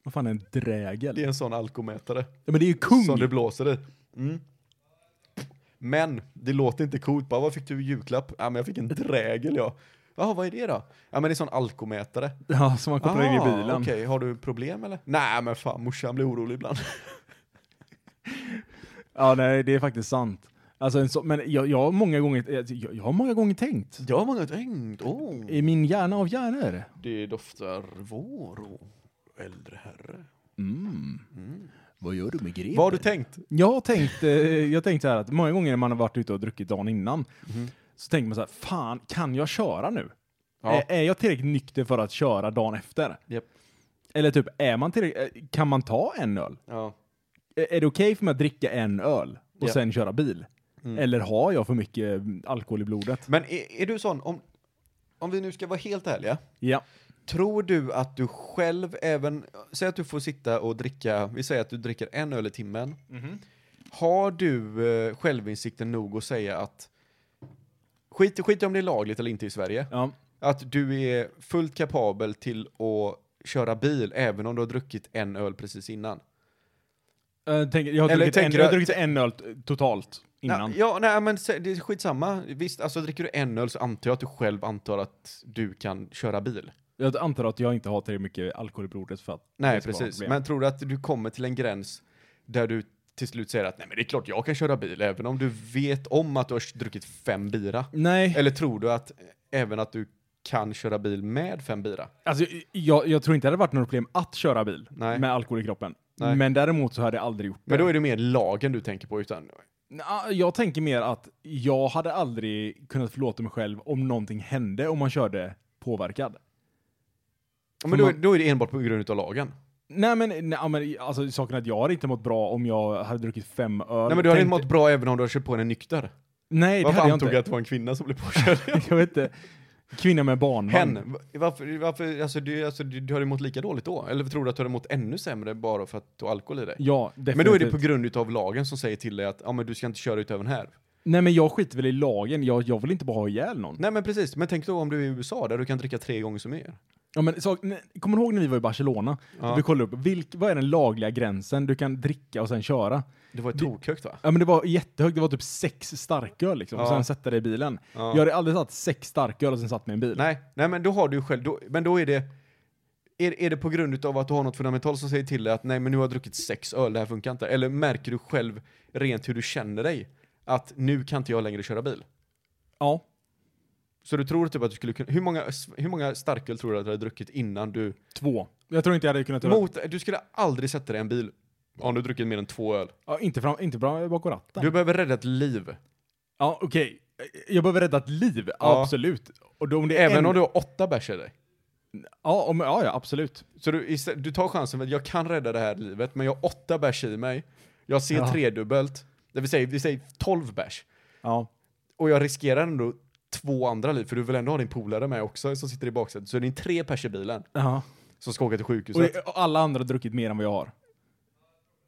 Vad fan är en drägel?
Det är en sån alkomätare.
Ja, men det är ju
Som
kung!
det blåser i. Mm. Men det låter inte coolt. Bara, vad fick du i julklapp? Ja, men jag fick en drägel jag. Jaha, vad är det då? Ja, men det är en sån alkomätare. Ah,
Ja, som man kopplar in i bilen.
Okej, har du problem eller? Nej, men fan morsan blir orolig ibland.
Ja, nej, det är faktiskt sant. Alltså, en så, men jag, jag, har många gånger, jag, jag har många gånger tänkt.
Det har många tänkt. Åh,
I min hjärna av hjärnor.
Det doftar vår och äldre herre.
Vad gör du med greven?
Vad har du tänkt?
Jag har tänkt, eh, jag har tänkt så här att många gånger när man har varit ute och druckit dagen innan
Mhm.
så tänker man så här, fan, kan jag köra nu?
Ja.
Är, är jag tillräckligt nykter för att köra dagen efter?
Japp.
Eller typ, är man tillräckligt, eh, kan man ta en öl?
Ja.
Är är det okej för mig att dricka en öl och
Japp.
sen köra bil?
Mm.
Eller har jag för mycket mm, alkohol i blodet?
Men är, är du sån, om, om vi nu ska vara helt ärliga,
Ja.
Tror du att du själv även, säg att du får sitta och dricka, vi säger att du dricker en öl i timmen. Har du eh, självinsikten nog att säga att, skit, skit i om det är lagligt eller inte i Sverige,
ja.
att du är fullt kapabel till att köra bil även om du har druckit en öl precis innan?
Jag, tänker, jag, har
Eller
druckit en,
tänker
jag har
du-
druckit en öl t- totalt innan.
Nej, ja, nej men se- det är skitsamma. Visst, alltså dricker du en öl så antar jag att du själv antar att du kan köra bil.
Jag antar att jag inte har tillräckligt mycket alkohol i blodet för att
Nej,
det ska vara något
precis.
problem.
Men tror du att du kommer till en gräns där du till slut säger att nej, men det är klart jag kan köra bil, även om du vet om att du har druckit fem bira?
Nej.
Eller tror du att eh, även att du kan köra bil med fem bira?
Alltså, jag, jag tror inte det hade varit något problem att köra bil
Nej.
med alkohol i kroppen.
Nej.
Men däremot så hade jag aldrig gjort
Men
det.
då är det mer lagen du tänker på, utan
Nja, Jag tänker mer att jag hade aldrig kunnat förlåta mig själv om någonting hände om man körde påverkad.
Ja, men då, är- då är det enbart på grund av lagen.
Nej men, nej, men alltså, saken är att jag hade inte mått bra om jag hade druckit fem öl.
Nej, men du hade inte
Tänkte-
mått bra även om du hade kört på en nykter.
Nej, det
Varför
hade jag
antog
inte.
jag att det var en kvinna som blev påkörd?
jag vet inte. Kvinna med barnvagn.
Hen, va- varför, varför alltså, du, alltså, du, du har emot lika dåligt då? Eller tror du att du har emot ännu sämre bara för att du har alkohol i dig?
Ja, definitivt.
Men då är det på grund av lagen som säger till dig att ja, men du ska inte köra utöver den här.
Nej men jag skiter väl i lagen, jag, jag vill inte bara ha ihjäl någon.
Nej men precis, men tänk då om du är i USA där du kan dricka tre gånger så mer.
Ja, men, så, nej, kommer du ihåg när vi var i Barcelona?
Ja.
Vi kollade upp, vilk, vad är den lagliga gränsen du kan dricka och sen köra?
Det var ju
Det-
tokhögt va?
Ja men det var jättehögt, det var typ sex starköl liksom, och
Ja.
sen sätta dig i bilen.
Ja.
Jag hade aldrig satt sex starköl och sen satt mig i en bil.
Nej, nej men då har du själv, då, men då är det är, är det på grund av att du har något fundamentalt som säger till dig att nej men nu har jag druckit sex öl, det här funkar inte. Eller märker du själv rent hur du känner dig att nu kan inte jag längre köra bil.
Ja.
Så du tror typ att du skulle kunna, hur många, hur många starköl tror du att du hade druckit innan du,
Två. Jag tror inte jag hade kunnat göra
mot, du skulle aldrig sätta dig i en bil om du druckit mer än två öl.
ja, inte, fram, inte bra bakom ratten.
Du behöver rädda ett liv.
Ja okej. Jag behöver rädda ett liv,
Ja.
absolut. Och då, om det är
Även
en...
om du har åtta bärs i dig.
ja, om, ja, ja, absolut.
Så du, istä- du tar chansen, att jag kan rädda det här livet, men jag har åtta bärs i mig, jag ser
Ja.
tredubbelt, det vill säga, vi säger tolv bärs,
Ja.
och jag riskerar ändå två andra liv, för du vill ändå ha din polare med också som sitter i baksätet, så det är tre pers i bilen
ja.
som ska åka till
Och,
sjukhuset.
och alla andra har druckit mer än vad jag har.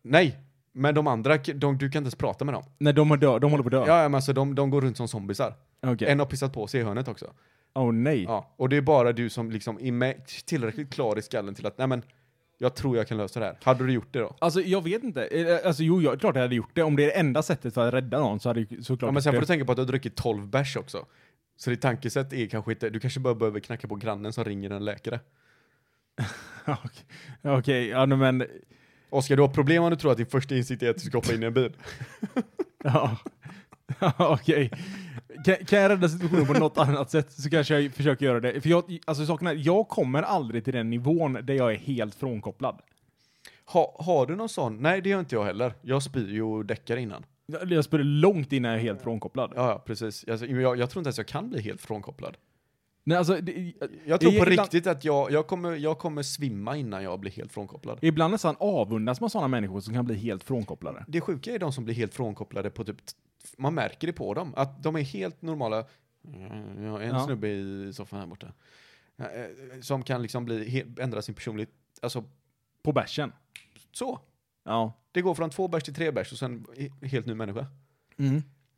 Nej! Men de andra, de, du kan inte ens prata med dem.
Nej, de, har dö- de håller på att dö.
Ja, ja men alltså de, de går runt som zombisar.
Okej.
En har pissat på sig i hörnet också.
Åh nej.
Ja, och det är bara du som liksom är med, tillräckligt klar i skallen till att, nej men, jag tror jag kan lösa det här. Hade du gjort det då?
Alltså jag vet inte. Eh, Alltså jo, jag, klart jag hade gjort det. Om det är det enda sättet för att rädda någon så hade jag ju såklart
Ja, men
gjort
sen får
det.
du tänka på att du har druckit 12 bärs också. Så ditt tankesätt är kanske inte, du kanske bara behöver knacka på grannen som ringer en läkare.
Ja, Okej, Okej, ja nej, men...
Oskar, du har problem om du tror att din första insikt är att du ska hoppa in i en bil.
Ja. Ja, Okej. Kan, kan jag rädda situationen på något annat sätt så kanske jag försöker göra det. För jag, alltså saken är, jag kommer aldrig till den nivån där jag är helt frånkopplad.
Ha, har du någon sån? Nej, det gör inte jag heller. Jag spyr ju och däckar innan.
Jag, jag spelar långt innan jag är helt frånkopplad.
Ja, ja precis. Alltså, jag, jag tror inte ens jag kan bli helt frånkopplad.
Nej, alltså, det,
Jag tror
Det-
på
ibland-
riktigt att jag, jag, kommer, jag kommer svimma innan jag blir helt frånkopplad.
ibland nästan avundas man sådana människor som kan bli helt frånkopplade.
Det sjuka är de som blir helt frånkopplade på typ, man märker det på dem, att de är helt normala. Mm, Jag har en
Ja.
snubbe i soffan här borta. Ja, eh, Som kan liksom bli, he- ändra sin personlighet, alltså
På bärsen.
så.
Ja.
Det går från två bärs till tre bärs och sen he- helt ny människa. Mm.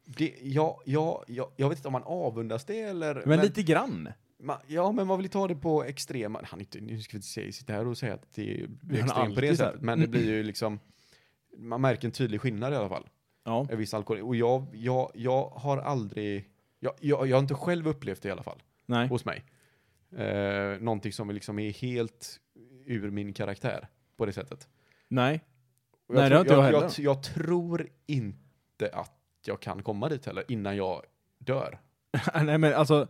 Det, ja, ja, ja, jag vet inte om man avundas det eller...
Men, lite grann.
man, ja, men man vill ju ta det på extrema... Han är inte, nu ska vi inte säga, sitta här och säga att det
är
blir extremt på
alltid
det
så här.
sättet, men det blir ju liksom... Man märker en tydlig skillnad i alla fall.
Ja.
en viss alkohol. Och jag, jag, jag har aldrig, jag, jag, jag har inte själv upplevt det i alla fall,
Nej.
hos mig. Eh, någonting som liksom är helt ur min karaktär på det sättet.
Nej.
Och
Nej, det har inte jag
jag,
heller.
jag, jag tror inte att jag kan komma dit heller innan jag dör.
Nej men alltså.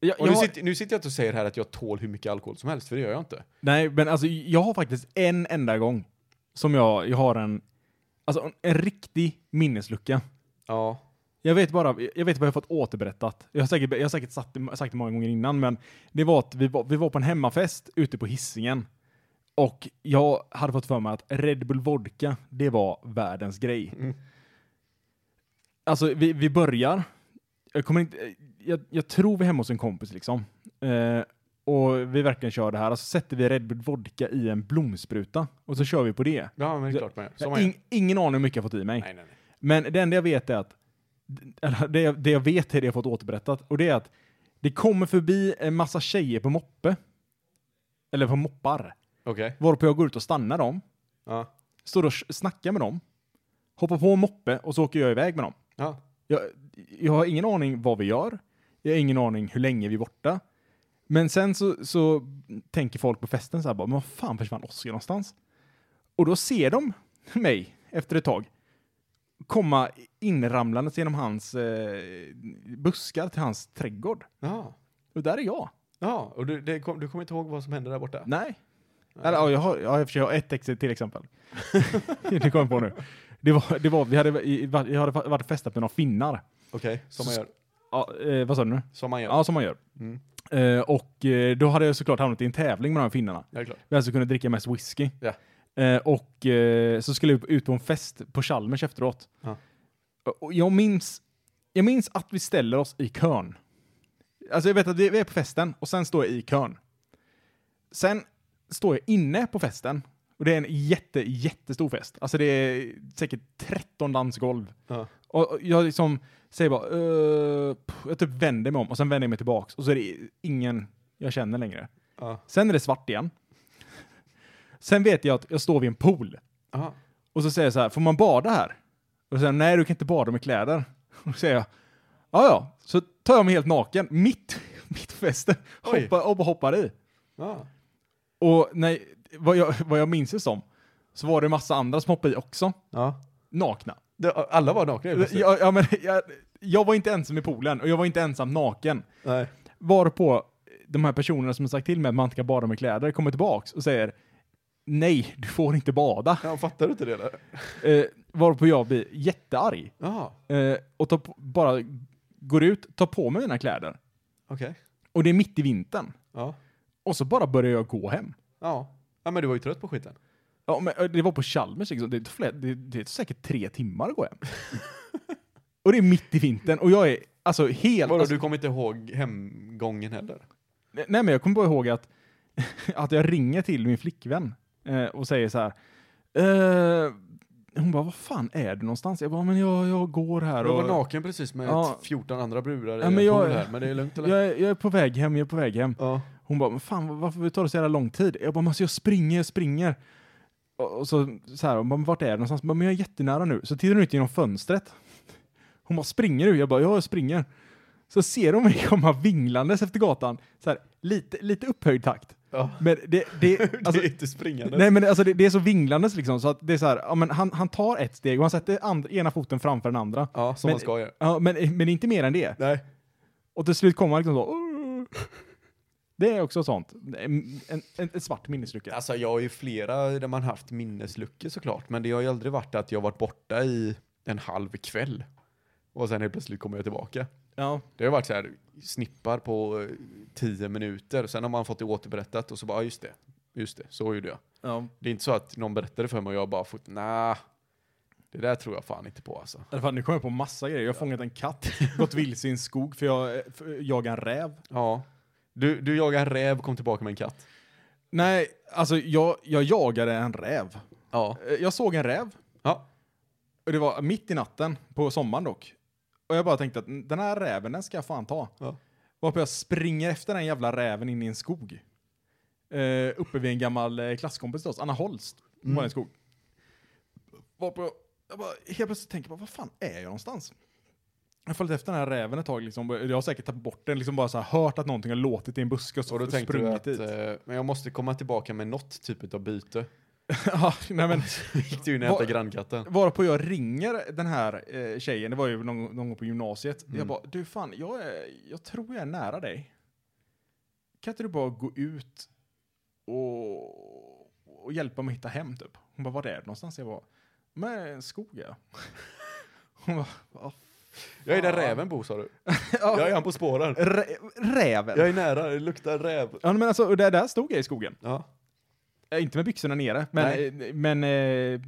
Jag,
Och
jag
nu,
har,
sitter, nu sitter jag inte och säger här att jag tål hur mycket alkohol som helst, för det gör jag inte.
Nej men alltså jag har faktiskt en enda gång som jag, jag har en, alltså en, en riktig minneslucka.
Ja,
Jag vet bara, jag vet vad jag har fått återberättat. Jag har säkert, jag har säkert sagt, det- sagt det många gånger innan, men det var att vi var, vi var på en hemmafest ute på hissingen och jag hade fått för mig att Red Bull Vodka, det var världens grej.
Mm.
Alltså, vi, vi börjar. Jag, kommer inte, jag, jag tror vi är hemma hos en kompis liksom. Eh, och vi verkligen kör det här. Alltså sätter vi Red Bull Vodka i en blomspruta och så kör vi på det.
ja men det är klart man gör. Som
Jag
man
har
gör.
ing- ingen aning hur mycket jag fått i mig.
Nej, nej, nej.
Men det enda jag vet är att, eller det jag, det jag vet är det jag fått återberättat, och det är att det kommer förbi en massa tjejer på moppe. Eller på moppar.
Okej.
Varpå jag går ut och stannar dem,
Ja.
står och snackar med dem, hoppar på en moppe och så åker jag iväg med dem.
ja.
Jag, jag har ingen aning vad vi gör. Jag har ingen aning hur länge vi är borta. Men sen så, så tänker folk på festen så här bara, men vad fan försvann Oskar någonstans? Och då ser de mig efter ett tag komma inramlandes genom hans eh, buskar till hans trädgård.
Ja.
Och där är jag.
Ja, och du, det kom, du kommer inte ihåg vad som hände där borta?
Nej. Eller, ja, jag har, ja, jag har ett ex till exempel. det kom jag på nu. Det var, det var, vi hade, i- jag hade varit festat med några finnar.
Okej, som man
Så-
gör.
Ja, eh, vad sa du nu?
Som man gör.
Ja, som man gör.
Mm.
Eh, och eh, då hade jag såklart hamnat i en tävling med de här finnarna.
Ja, det är klart.
Vi alltså kunde dricka mest whisky.
Ja.
Eh, och eh, så skulle jag ut på en fest på Chalmers efteråt.
Ja.
Och jag minns, jag minns att vi ställer oss i kön. Alltså jag vet att vi vi är på festen och sen står jag i kön. Sen står jag inne på festen och det är en jätte, jättestor fest. Alltså det är säkert 13 dansgolv.
Ja.
Och och jag liksom säger bara, "Eh, pff", jag typ vänder mig om och sen vänder jag mig tillbaks och så är det ingen jag känner längre.
Ja.
Sen är det svart igen. Sen vet jag att jag står vid en pool.
Aha.
Och så säger jag så här, får man bada här? Och så säger jag, nej du kan inte bada med kläder. Och så säger jag, ja ja, så tar jag mig helt naken, mitt, mitt fäste,
Oj.
hoppar, och bara hoppar i.
Ja.
Och nej, vad jag, vad jag minns det som, så var det massa andra som hoppade i också,
Ja.
nakna.
Det, alla var nakna helt plötsligt.
Jag, ja, men, jag, jag var inte ensam i poolen och jag var inte ensam naken.
Nej.
Varpå de här personerna som har sagt till mig att man inte kan bada med kläder kommer tillbaks och säger, nej du får inte bada.
Ja, fattar du inte det där?
Eh, varpå jag blir jättearg.
Ja,
Eh, och tar på, bara går ut, tar på mig mina kläder.
okej.
Och det är mitt i vintern.
Ja.
Och så bara börjar jag gå hem.
ja. Ja, men du var ju trött på skiten.
Ja, men eh, det var på Chalmers, liksom. det, är fler, det, det är säkert tre timmar att gå hem. och det är mitt i vintern och jag är alltså helt...
Vadå,
Alltså,
du kommer inte ihåg hemgången heller?
nej men jag kommer bara ihåg att, att jag ringer till min flickvän eh, och säger så här. Eh, hon bara, vad fan är du någonstans? Jag bara, men jag, jag går här
Du
och...
var naken precis med
Ja.
14 andra brudar i
Ja,
en
men jag-
pool här, men det är lugnt eller?
jag, är, jag är på väg hem, jag är på väg hem.
Ja.
Hon bara, "Men fan vad- varför tar det så jävla lång tid? Jag bara, men alltså jag springer, jag springer. Och och så, så här, hon bara, "Men vart är du någonstans? Jag bara, men jag är jättenära nu. Så tittar hon ut genom fönstret. Hon bara, springer du? Jag bara, ja jag springer. Så ser hon mig komma vinglandes efter gatan, så här, lite, lite upphöjd takt.
ja.
Men det, det, alltså,
det är inte springande.
nej men alltså det, det är så vinglandes liksom, så att det är så här, ja men han, han tar ett steg och han sätter and, ena foten framför den andra.
Ja, som
Men-
man ska göra.
Ja, men, men inte mer än det.
Nej.
Och till slut kommer han liksom så. "Åh." Det är också sånt. En, en, en, ett svart minneslucka.
Alltså jag har ju flera där man haft minnesluckor såklart, men det har ju aldrig varit att jag varit borta i en halv kväll och sen helt plötsligt kommer jag tillbaka.
Ja.
Det har varit så här snippar på eh, 10 minuter, sen har man fått det återberättat och så bara, ja, just det, just det, så gjorde jag.
ja.
Det är inte så att någon berättade för mig och jag bara fått, nah, det där tror jag fan inte på alltså.
I alla fall, nu kommer jag på massa grejer. Jag har fångat en katt, gått vilse i en skog för jag för jag jagar en räv.
Ja. Du, du jagar en räv och kom tillbaka med en katt.
Nej, alltså jag, jag jagade en räv.
Ja.
Eh, Jag såg en räv.
Ja.
Och det var mitt i natten, på sommaren dock. Och jag bara tänkte att "Mm, den här räven, den ska jag fan ta.
Ja.
Varpå jag springer efter den jävla räven in i en skog. Eh, uppe vid en gammal eh, klasskompis till oss, Anna Holst. Hon var i en
Mm.
skog. Varpå jag- jag bara, helt plötsligt tänker jag, vad fan är jag någonstans? Jag har följt efter den här räven ett tag, liksom, jag har säkert tagit bort den, liksom bara så här, hört att någonting har låtit i en buske och, så
Och då tänkte du
sprungit
att,
dit.
eh, men jag måste komma tillbaka med något typ av byte.
ja, nej, men,
Gick du in
Vad-
och hämtade grannkatten?
Varpå jag ringer den här eh, tjejen, det var ju någon, någon gång på gymnasiet. Jag bara, du fan, jag, är, jag tror jag är nära dig. Kan inte du bara gå ut och, och hjälpa mig hitta hem typ? Hon bara, var är du någonstans? Jag bara, med en skog är jag. Hon bara, "Vad
Jag är där
fan?"
räven bor sa du.
Ja,
Jag är han på spåren.
rä, räven.
Jag är nära, det luktar räv.
Ja men alltså, och där, där stod jag i skogen.
Ja.
Eh, Inte med byxorna nere, men, men eh,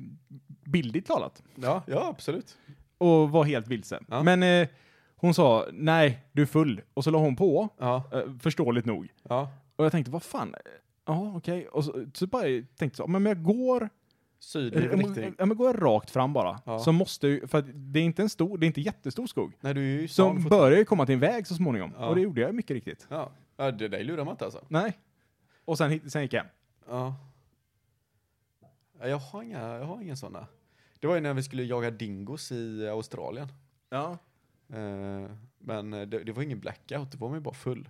bildligt talat.
Ja, ja absolut.
och var helt vilse.
Ja.
Men eh, hon sa nej, du är full. Och så la hon på,
Ja,
eh, förståeligt nog.
ja.
Och jag tänkte, vad fan? eh, Ja, okej. Och så, så bara tänkte jag, men jag går,
Sydlig riktning.
ja, men går jag rakt fram bara.
Ja.
Så måste jag ju- för att det är inte en stor, det är inte jättestor skog.
Nej, du är ju i
Så
stan fortfarande.
börjar ju komma till en väg så småningom.
Ja.
Och det gjorde jag mycket riktigt.
Ja. ja, det där lurar man inte alltså.
Nej. Och sen, hit- sen gick jag hem.
Ja. Ja, Jag har inga, jag har inga sådana. Det var ju när vi skulle jaga dingos i eh, Australien.
Ja.
Eh, men eh, det, det var ingen blackout, det var man ju bara full.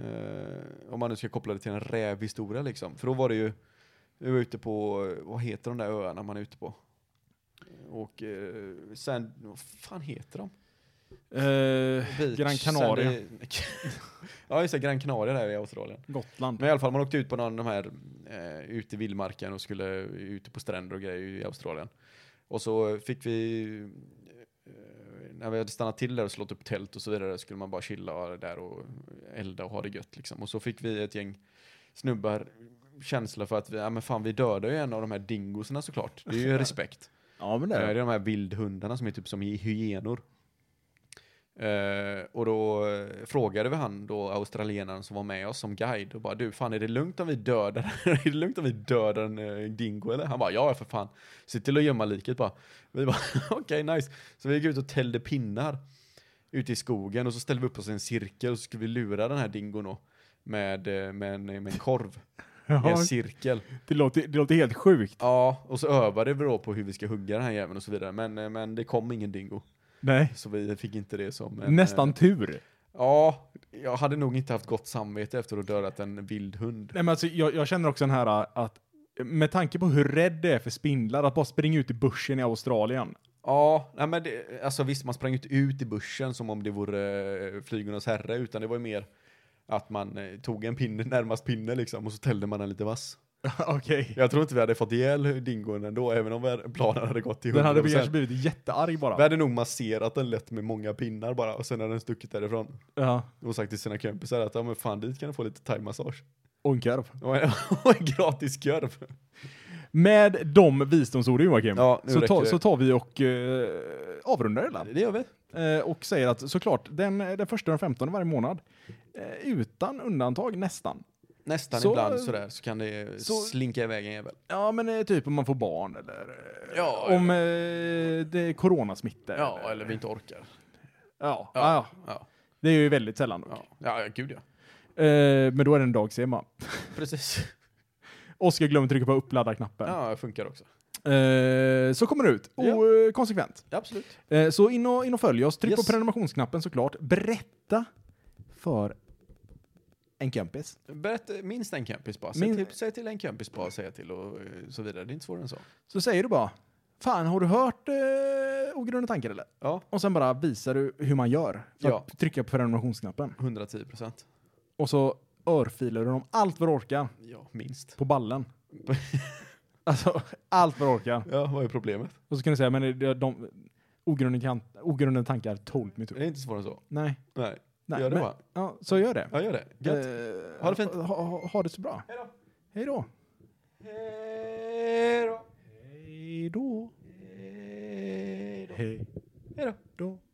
Eh, om man nu ska koppla det till en rävhistoria liksom. För då var det ju, vi var ute på, eh, vad heter de där öarna man är ute på? Och eh, sen, vad fan heter de? Beach,
Eh, Gran
San-
Canaria,
ja just det, Gran Canaria där i Australien.
Gotland.
Men i alla fall, man åkte ut på någon av de här, eh, ute i vildmarken och skulle ute på stränder och grejer i Australien. Och så fick vi, eh, när vi hade stannat till där och slått upp tält och så vidare, skulle man bara chilla där och elda och ha det gött liksom. Och så fick vi ett gäng snubbar känsla för att vi, ja men fan vi dödar ju en av de här dingoserna såklart. Det är ju respekt.
Ja, men
Det är de här vildhundarna som är typ som hy- hyenor. Eh, och då eh, frågade vi han då, australienaren som var med oss som guide och bara du fan är det lugnt om vi dödar, är det lugnt om vi dödar en eh, dingo eller? Han bara ja för fan, se till att gömma liket bara. Vi bara okej nice. Så vi gick ut och tällde pinnar ute i skogen och så ställde vi upp oss i en cirkel och så skulle vi lura den här dingon då med, eh, med, en, med en korv i en
Ja,
cirkel.
det, låter, det låter helt sjukt.
Ja, och så övade vi då på hur vi ska hugga den här jäveln och så vidare. Men, eh, men det kom ingen dingo.
Nej.
Så vi fick inte det som... en, eh,
Nästan tur.
Ja, jag hade nog inte haft gott samvete efter att ha dödat en vild hund.
Nej, men alltså, jag, jag känner också den här äh, att med tanke på hur rädd det är för spindlar, att bara springa ut i buschen i Australien.
Ja, nej men det, alltså visst man sprang inte ut i buschen som om det vore eh, flygornas herre, utan det var ju mer att man eh, tog en pinne, närmast pinne liksom, och så tällde man den lite vass.
Okej.
Jag tror inte vi hade fått ihjäl dingon ändå, även om vi- planen hade gått till
Den hade
100%.
kanske blivit jättearg bara.
Vi hade nog masserat den lätt med många pinnar bara, och sen hade den stuckit därifrån.
Ja.
Och sagt till sina kompisar att, ja men fan dit kan du få lite thaimassage.
Och en korv.
Och en, och en gratis korv.
Med de visdomsorden Joakim,
Ja, nu
så,
räcker
ta,
det.
så tar vi och eh, avrundar hela.
Det gör vi.
Eh, och säger att såklart, den, den första och den femtonde varje månad, eh, utan undantag nästan.
Nästan
Så-
ibland sådär så kan det
så-
slinka iväg en jävel.
Ja men eh, typ om man får barn eller eh,
Ja,
om eh, det är coronasmitta.
Ja, eller vi inte orkar.
ja, ja.
Ja,
ja,
ja,
det är ju väldigt sällan dock.
ja, ja, gud ja.
Eh, men då är det en dagsema.
Precis.
Oskar glömmer trycka på uppladda-knappen.
Ja, det funkar också.
Eh, så kommer det ut.
Ja.
Okonsekvent.
Absolut.
Eh, Så in och, in och följ oss. Tryck
Yes.
på prenumerationsknappen såklart. Berätta för en kompis.
Berätta, minst en kompis bara. Säg,
Min-
till, säg till en kompis bara, säga till och eh, så vidare. Det är inte svårare än så.
Så säger du bara Fan, har du hört eh, Ogrundade tankar eller?
Ja,
Och sen bara visar du hur man gör. För
Ja.
att trycka på prenumerationsknappen.
110 procent.
Och så örfilar du dem allt vad du orkar
Ja, minst.
på ballen. alltså, allt vad du orkar.
Ja, vad är problemet?
Och så kan du säga, men det- det- de, ogrundade, kan, ogrundade tankar told me to.
Det är inte svårare än så.
Nej.
Nej,
Nej
gör det
men,
bara.
Ja, så gör det.
Ja, gör det. Gött.
Eh,
Ha det fint.
Ha, ha, ha det så bra.
Hej då.
Hej då.
Eh. Hej då.
Hej då.
Hej då.
Hej
Hej då.
då.